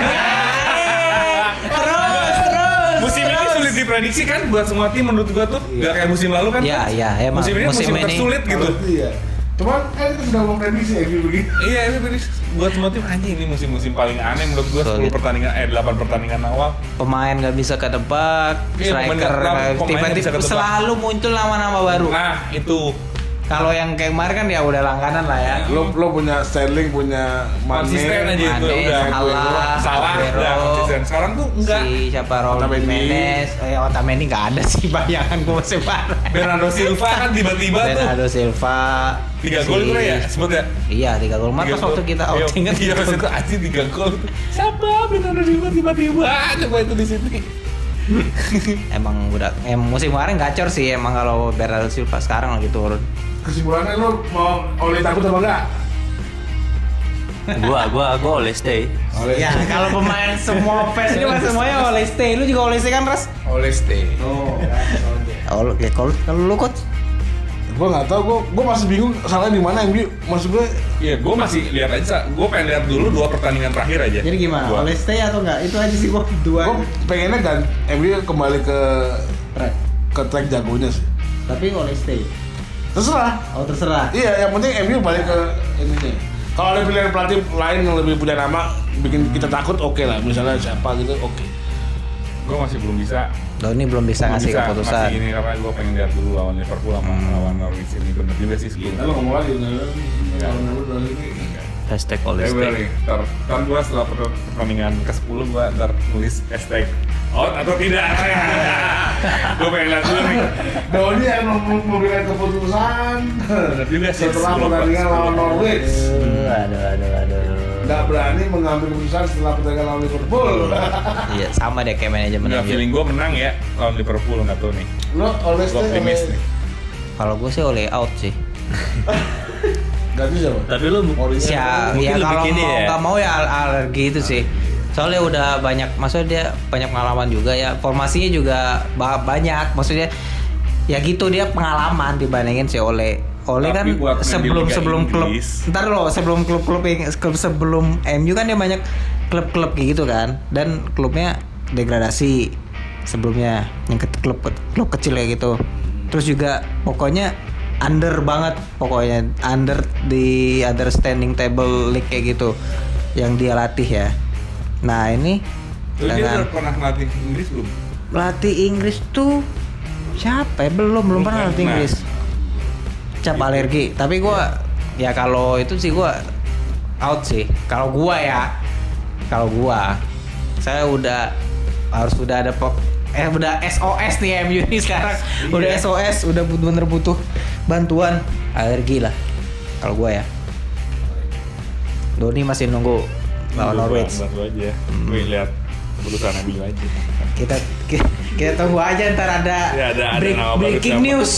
[SPEAKER 8] Terus terus.
[SPEAKER 4] musim ini sulit diprediksi kan buat semua tim menurut gua tuh nggak kayak musim lalu kan
[SPEAKER 2] ya ya emang
[SPEAKER 4] musim ini musim, tersulit gitu
[SPEAKER 5] Harus Iya. Cuman kan kita sudah memprediksi ya gitu begini.
[SPEAKER 4] iya itu tadi buat semua tim anjing ini musim-musim paling aneh menurut gua 10
[SPEAKER 2] Sulit.
[SPEAKER 4] pertandingan eh 8 pertandingan awal
[SPEAKER 2] pemain nggak bisa ketebak
[SPEAKER 4] Iya, pemain
[SPEAKER 2] striker
[SPEAKER 4] nggak-
[SPEAKER 2] nggak-
[SPEAKER 4] pemain nggak bisa
[SPEAKER 2] tiba-tiba
[SPEAKER 4] ketebak.
[SPEAKER 2] selalu muncul nama-nama baru
[SPEAKER 4] nah itu
[SPEAKER 2] kalau yang kayak kemarin kan ya udah langganan lah ya
[SPEAKER 5] Lo lo punya Sterling, punya Mane.
[SPEAKER 4] konsisten aja itu
[SPEAKER 2] Mane,
[SPEAKER 4] udah
[SPEAKER 2] Salah,
[SPEAKER 4] salah
[SPEAKER 2] Aguero.
[SPEAKER 4] udah konsisten sekarang tuh enggak
[SPEAKER 2] si siapa Raul
[SPEAKER 5] Otamendi.
[SPEAKER 2] Jimenez oh ya Otamendi nggak ada sih bayangan gue masih parah
[SPEAKER 4] Bernardo Silva kan tiba-tiba tuh
[SPEAKER 2] Bernardo Silva
[SPEAKER 4] tiga
[SPEAKER 2] si-
[SPEAKER 4] gol itu ya sebut ya
[SPEAKER 2] iya tiga gol Mar
[SPEAKER 4] Tiga
[SPEAKER 2] pas
[SPEAKER 4] gol.
[SPEAKER 2] waktu kita
[SPEAKER 4] Iya,
[SPEAKER 2] outing kan
[SPEAKER 4] iya pas itu anjing tiga gol siapa Bernardo Silva tiba-tiba Ah, coba itu di sini
[SPEAKER 2] emang udah em, musim kemarin gacor sih emang kalau Bernardo Silva sekarang lagi turun
[SPEAKER 5] Kesimpulannya lo mau oleh takut apa enggak?
[SPEAKER 3] gua gua gua oleh stay
[SPEAKER 5] Oleh.
[SPEAKER 2] ya kalau pemain semua fans ini mas semuanya oleh stay lu juga oleh stay kan Ras
[SPEAKER 6] Oleh stay.
[SPEAKER 5] Oh, kan, soalnya.
[SPEAKER 2] oh ya kalau lu coach
[SPEAKER 5] Gua nggak tahu, gua gua masih bingung salah di mana MU. Maksud gue
[SPEAKER 4] Iya, gue masih lihat aja. Gue pengen lihat dulu dua pertandingan terakhir aja.
[SPEAKER 8] Jadi gimana?
[SPEAKER 4] Dua.
[SPEAKER 8] Oleh stay atau enggak? Itu aja sih gua dua.
[SPEAKER 5] gue pengennya kan MU kembali ke
[SPEAKER 8] Track.
[SPEAKER 5] ke track jagonya sih.
[SPEAKER 8] Tapi oleh stay.
[SPEAKER 5] Terserah.
[SPEAKER 8] Oh terserah.
[SPEAKER 5] Iya, yang penting MU balik ke ininya. Kalau ada pilihan pelatih lain yang lebih punya nama, bikin kita takut, oke lah. Misalnya siapa gitu, oke.
[SPEAKER 4] Gue masih belum bisa.
[SPEAKER 2] Doni belum bisa
[SPEAKER 4] belum
[SPEAKER 2] ngasih
[SPEAKER 4] bisa,
[SPEAKER 2] keputusan Hmm.
[SPEAKER 4] Masih ini karena gue pengen lihat dulu lawan Liverpool sama lawan Norwich ini bener juga sih
[SPEAKER 5] Kita
[SPEAKER 4] sebelumnya.
[SPEAKER 5] lo ngomong lagi, nggak ada.
[SPEAKER 4] Iya.
[SPEAKER 5] Tahun lalu, tahun ini.
[SPEAKER 3] hashtag oleh stay
[SPEAKER 4] Februari. Ntar, ntar gue setelah per- pertandingan ke 10 gue ntar nulis hashtag out atau tidak. gue pengen lihat dulu nih.
[SPEAKER 5] Daun ini yang mem- memberikan keputusan
[SPEAKER 4] Bener juga sih.
[SPEAKER 5] setelah
[SPEAKER 4] 10,
[SPEAKER 5] pertandingan
[SPEAKER 4] 10.
[SPEAKER 5] lawan Norwich.
[SPEAKER 3] Hmm, aduh aduh aduh
[SPEAKER 5] Nggak berani mengambil keputusan setelah pertandingan lawan Liverpool.
[SPEAKER 2] iya sama deh kayak manajemen
[SPEAKER 4] Nggak,
[SPEAKER 2] MU.
[SPEAKER 4] feeling gue menang ya lawan Liverpool nggak tahu nih.
[SPEAKER 5] Lo always
[SPEAKER 4] Gue optimis nih.
[SPEAKER 2] kalau gue sih oleh out sih
[SPEAKER 5] Ganti siapa?
[SPEAKER 3] tapi lu
[SPEAKER 5] Mourinho.
[SPEAKER 2] ya,
[SPEAKER 3] Mungkin
[SPEAKER 2] ya
[SPEAKER 3] lebih
[SPEAKER 2] kalau
[SPEAKER 3] gini
[SPEAKER 2] mau
[SPEAKER 3] ya.
[SPEAKER 2] nggak mau ya al- alergi itu sih soalnya udah banyak maksudnya dia banyak pengalaman juga ya formasinya juga ba- banyak maksudnya ya gitu dia pengalaman dibandingin si Ole Ole
[SPEAKER 4] Tapi
[SPEAKER 2] kan
[SPEAKER 4] buat main di
[SPEAKER 2] sebelum
[SPEAKER 4] Liga
[SPEAKER 2] sebelum klub
[SPEAKER 4] Inggris.
[SPEAKER 2] ntar loh sebelum klub-klub yang klub sebelum MU kan dia banyak klub-klub kayak gitu kan dan klubnya degradasi sebelumnya yang ke klub klub kecil kayak gitu terus juga pokoknya under banget pokoknya under di under standing table league kayak gitu yang dia latih ya nah ini
[SPEAKER 4] Lu dia
[SPEAKER 2] dengan
[SPEAKER 4] udah pernah ngelatih Inggris belum?
[SPEAKER 2] latih Inggris tuh siapa ya? Belum, belum pernah
[SPEAKER 4] Belum
[SPEAKER 2] latih
[SPEAKER 4] pernah.
[SPEAKER 2] Inggris. Cap alergi. Tapi gua ya kalau itu sih gua out sih. Kalau gua ya. Kalau gua saya udah harus udah ada pok eh udah SOS nih MU ini sekarang. Udah SOS, udah bener-bener butuh bantuan alergi lah. Kalau gua ya. Doni masih nunggu lawan
[SPEAKER 4] Nunggu
[SPEAKER 2] Norwich.
[SPEAKER 4] gua- gua aja. Gue lihat keputusan MU aja.
[SPEAKER 2] kita ki- kita tunggu aja ntar ada,
[SPEAKER 4] Ya, ada- ada
[SPEAKER 2] break-
[SPEAKER 4] nama baru
[SPEAKER 2] breaking
[SPEAKER 4] siapa.
[SPEAKER 2] news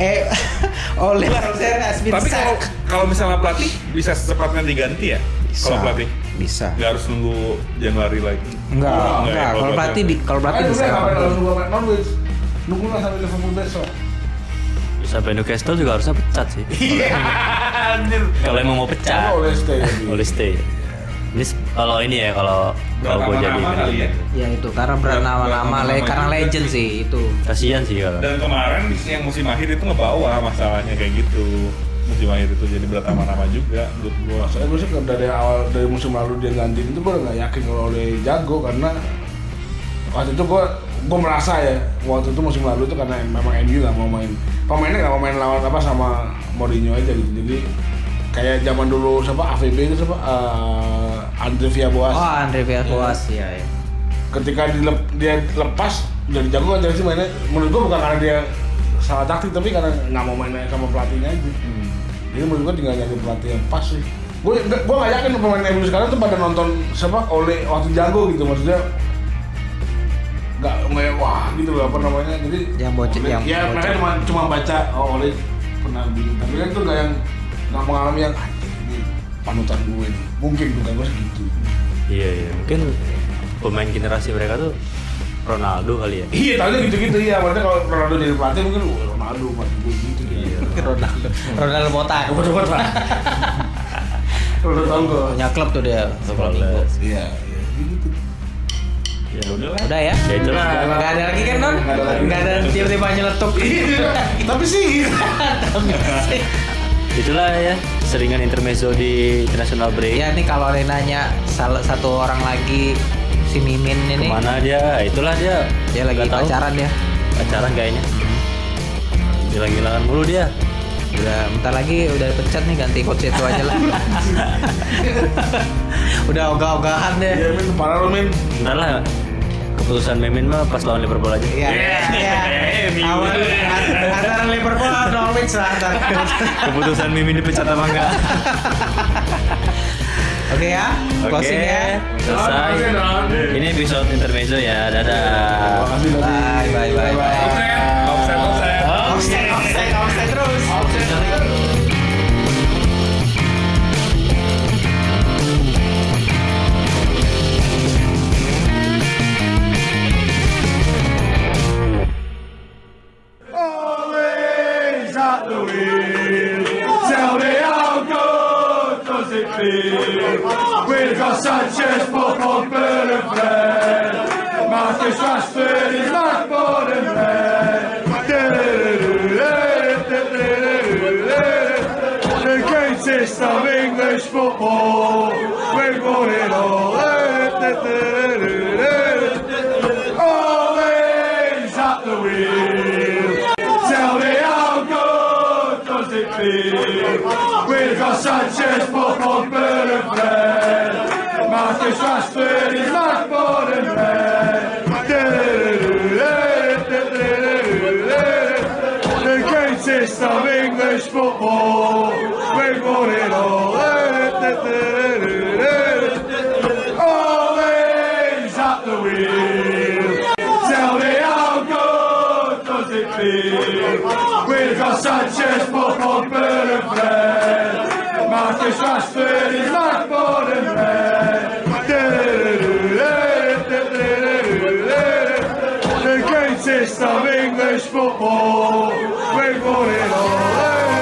[SPEAKER 2] eh oleh Rosen has been
[SPEAKER 4] Tapi kalau
[SPEAKER 2] sacked.
[SPEAKER 4] kalau misalnya pelatih bisa secepatnya diganti ya? Kalau
[SPEAKER 2] Bisa.
[SPEAKER 4] pelatih
[SPEAKER 2] bisa
[SPEAKER 4] nggak harus nunggu Januari lagi.
[SPEAKER 2] enggak
[SPEAKER 4] ya,
[SPEAKER 2] enggak kalau pelatih di kalau pelatih
[SPEAKER 5] Ayo,
[SPEAKER 2] bisa
[SPEAKER 5] udah, ngapain lawan lawan Norwich? Nunggulah sampai Liverpool besok.
[SPEAKER 3] sampai Newcastle juga harusnya pecat sih Iya.
[SPEAKER 4] Iya,
[SPEAKER 3] kalau emang mau
[SPEAKER 5] Coba
[SPEAKER 3] pecat
[SPEAKER 5] oleh stay. lagi.
[SPEAKER 3] oleh stay ini se- kalau ini ya kalau kalau
[SPEAKER 4] Berapa
[SPEAKER 3] gua jadi
[SPEAKER 4] nama kali ya?
[SPEAKER 3] manajer
[SPEAKER 2] ya itu karena bernama-nama
[SPEAKER 4] Nama-nama
[SPEAKER 2] le-
[SPEAKER 4] itu
[SPEAKER 2] karena
[SPEAKER 4] juga
[SPEAKER 2] legend sih itu
[SPEAKER 3] kasihan sih kalau
[SPEAKER 4] Dan kemarin yang musim akhir itu ngebawa masalahnya kayak gitu. Musim akhir itu jadi bertambah-tambah juga menurut gua.
[SPEAKER 5] Saya gue Iya, sih dari awal dari musim lalu dia gantiin itu gue nggak yakin kalau oleh jago karena waktu itu gue gue merasa ya waktu itu musim lalu itu karena memang MU nggak mau main pemainnya nggak mau main lawan apa sama Mourinho aja gitu jadi kayak zaman dulu siapa AVB itu siapa eh, Andre Villas-Boas
[SPEAKER 2] oh Andre Villas-Boas ya, ya.
[SPEAKER 5] ketika dilep- dia lepas dari jago kan sih mainnya menurut gue bukan karena dia salah taktik tapi karena nggak mau main sama pelatihnya aja
[SPEAKER 2] Hmm.
[SPEAKER 5] jadi menurut gue tinggal nyari pelatih yang pas sih gue gue nggak yakin pemain MU sekarang tuh pada nonton siapa oleh waktu jago gitu maksudnya nggak nggak yang wah gitu loh apa namanya jadi
[SPEAKER 2] Yang bocil-
[SPEAKER 5] Ole-
[SPEAKER 2] yang
[SPEAKER 5] ya mereka
[SPEAKER 2] bocil.
[SPEAKER 5] cuma cuma baca oh oleh pernah begini tapi kan tuh nggak yang nggak mengalami yang "Anjing, ini panutan gue nih gitu. mungkin bukan gue segitu
[SPEAKER 3] iya iya mungkin pemain generasi mereka tuh Ronaldo kali ya
[SPEAKER 5] Iya, tadi gitu-gitu ya. Maksudnya kalau Ronaldo jadi pelatih mungkin "Wah, Ronaldo mati gue gitu dia.
[SPEAKER 2] Iya.
[SPEAKER 9] Ronaldo Ronaldo botak
[SPEAKER 5] Coba coba lah. Ronaldo tonggo.
[SPEAKER 2] punya klub tuh dia Flamengo.
[SPEAKER 5] Iya, iya gitu.
[SPEAKER 4] ya udahlah
[SPEAKER 2] udah ya
[SPEAKER 3] ya itulah
[SPEAKER 2] nggak ada lagi kan non
[SPEAKER 5] Nggak ada lagi.
[SPEAKER 2] nggak ada tiba-tiba nyeletuk
[SPEAKER 5] Tapi sih
[SPEAKER 3] itulah ya seringan intermezzo di international break
[SPEAKER 2] ya nih kalau ada yang nanya salah satu orang lagi si Mimin ini
[SPEAKER 3] kemana dia Ah, itulah dia
[SPEAKER 2] dia lagi
[SPEAKER 3] Nggak tahu.
[SPEAKER 2] pacaran ya
[SPEAKER 3] pacaran kayaknya hilang-hilangan mulu dia
[SPEAKER 2] udah bentar lagi udah pecat nih ganti coach itu aja lah udah ogah-ogahan deh
[SPEAKER 5] Iya, Min, parah lo, Min.
[SPEAKER 3] ntar lah keputusan Memin mah pas lawan Liverpool aja
[SPEAKER 2] Iya, iya. Awal antara Liverpool atau Norwich lah antara.
[SPEAKER 3] keputusan Mimin dipecat apa enggak
[SPEAKER 2] Oke ya,
[SPEAKER 3] oke
[SPEAKER 2] closing ya.
[SPEAKER 3] selesai ini episode intermezzo ya dadah
[SPEAKER 5] Makasih tadi.
[SPEAKER 2] Bye, bye, bye, bye.
[SPEAKER 4] offset offset
[SPEAKER 2] Offset, offset, offset terus.
[SPEAKER 10] always at the wheel. Tell me how good does it feel? We've got Sanchez, Buffon, Burn and Fred. Marcus Rashford is like born and bred. The greatest of English football. We've won it all. Always at the wheel. Tell me how good does it feel? We've got Sanchez, Buffon, Burn and Fred. Marcus Rashford is like born and bred. The greatest of English football. We've won it all. Always at the wheel. Tell me how good does it feel? We've got Sanchez, Buffon, Burn and Fred. Marcus Rashford is like born and bred. The greatest of English football. We've won it all.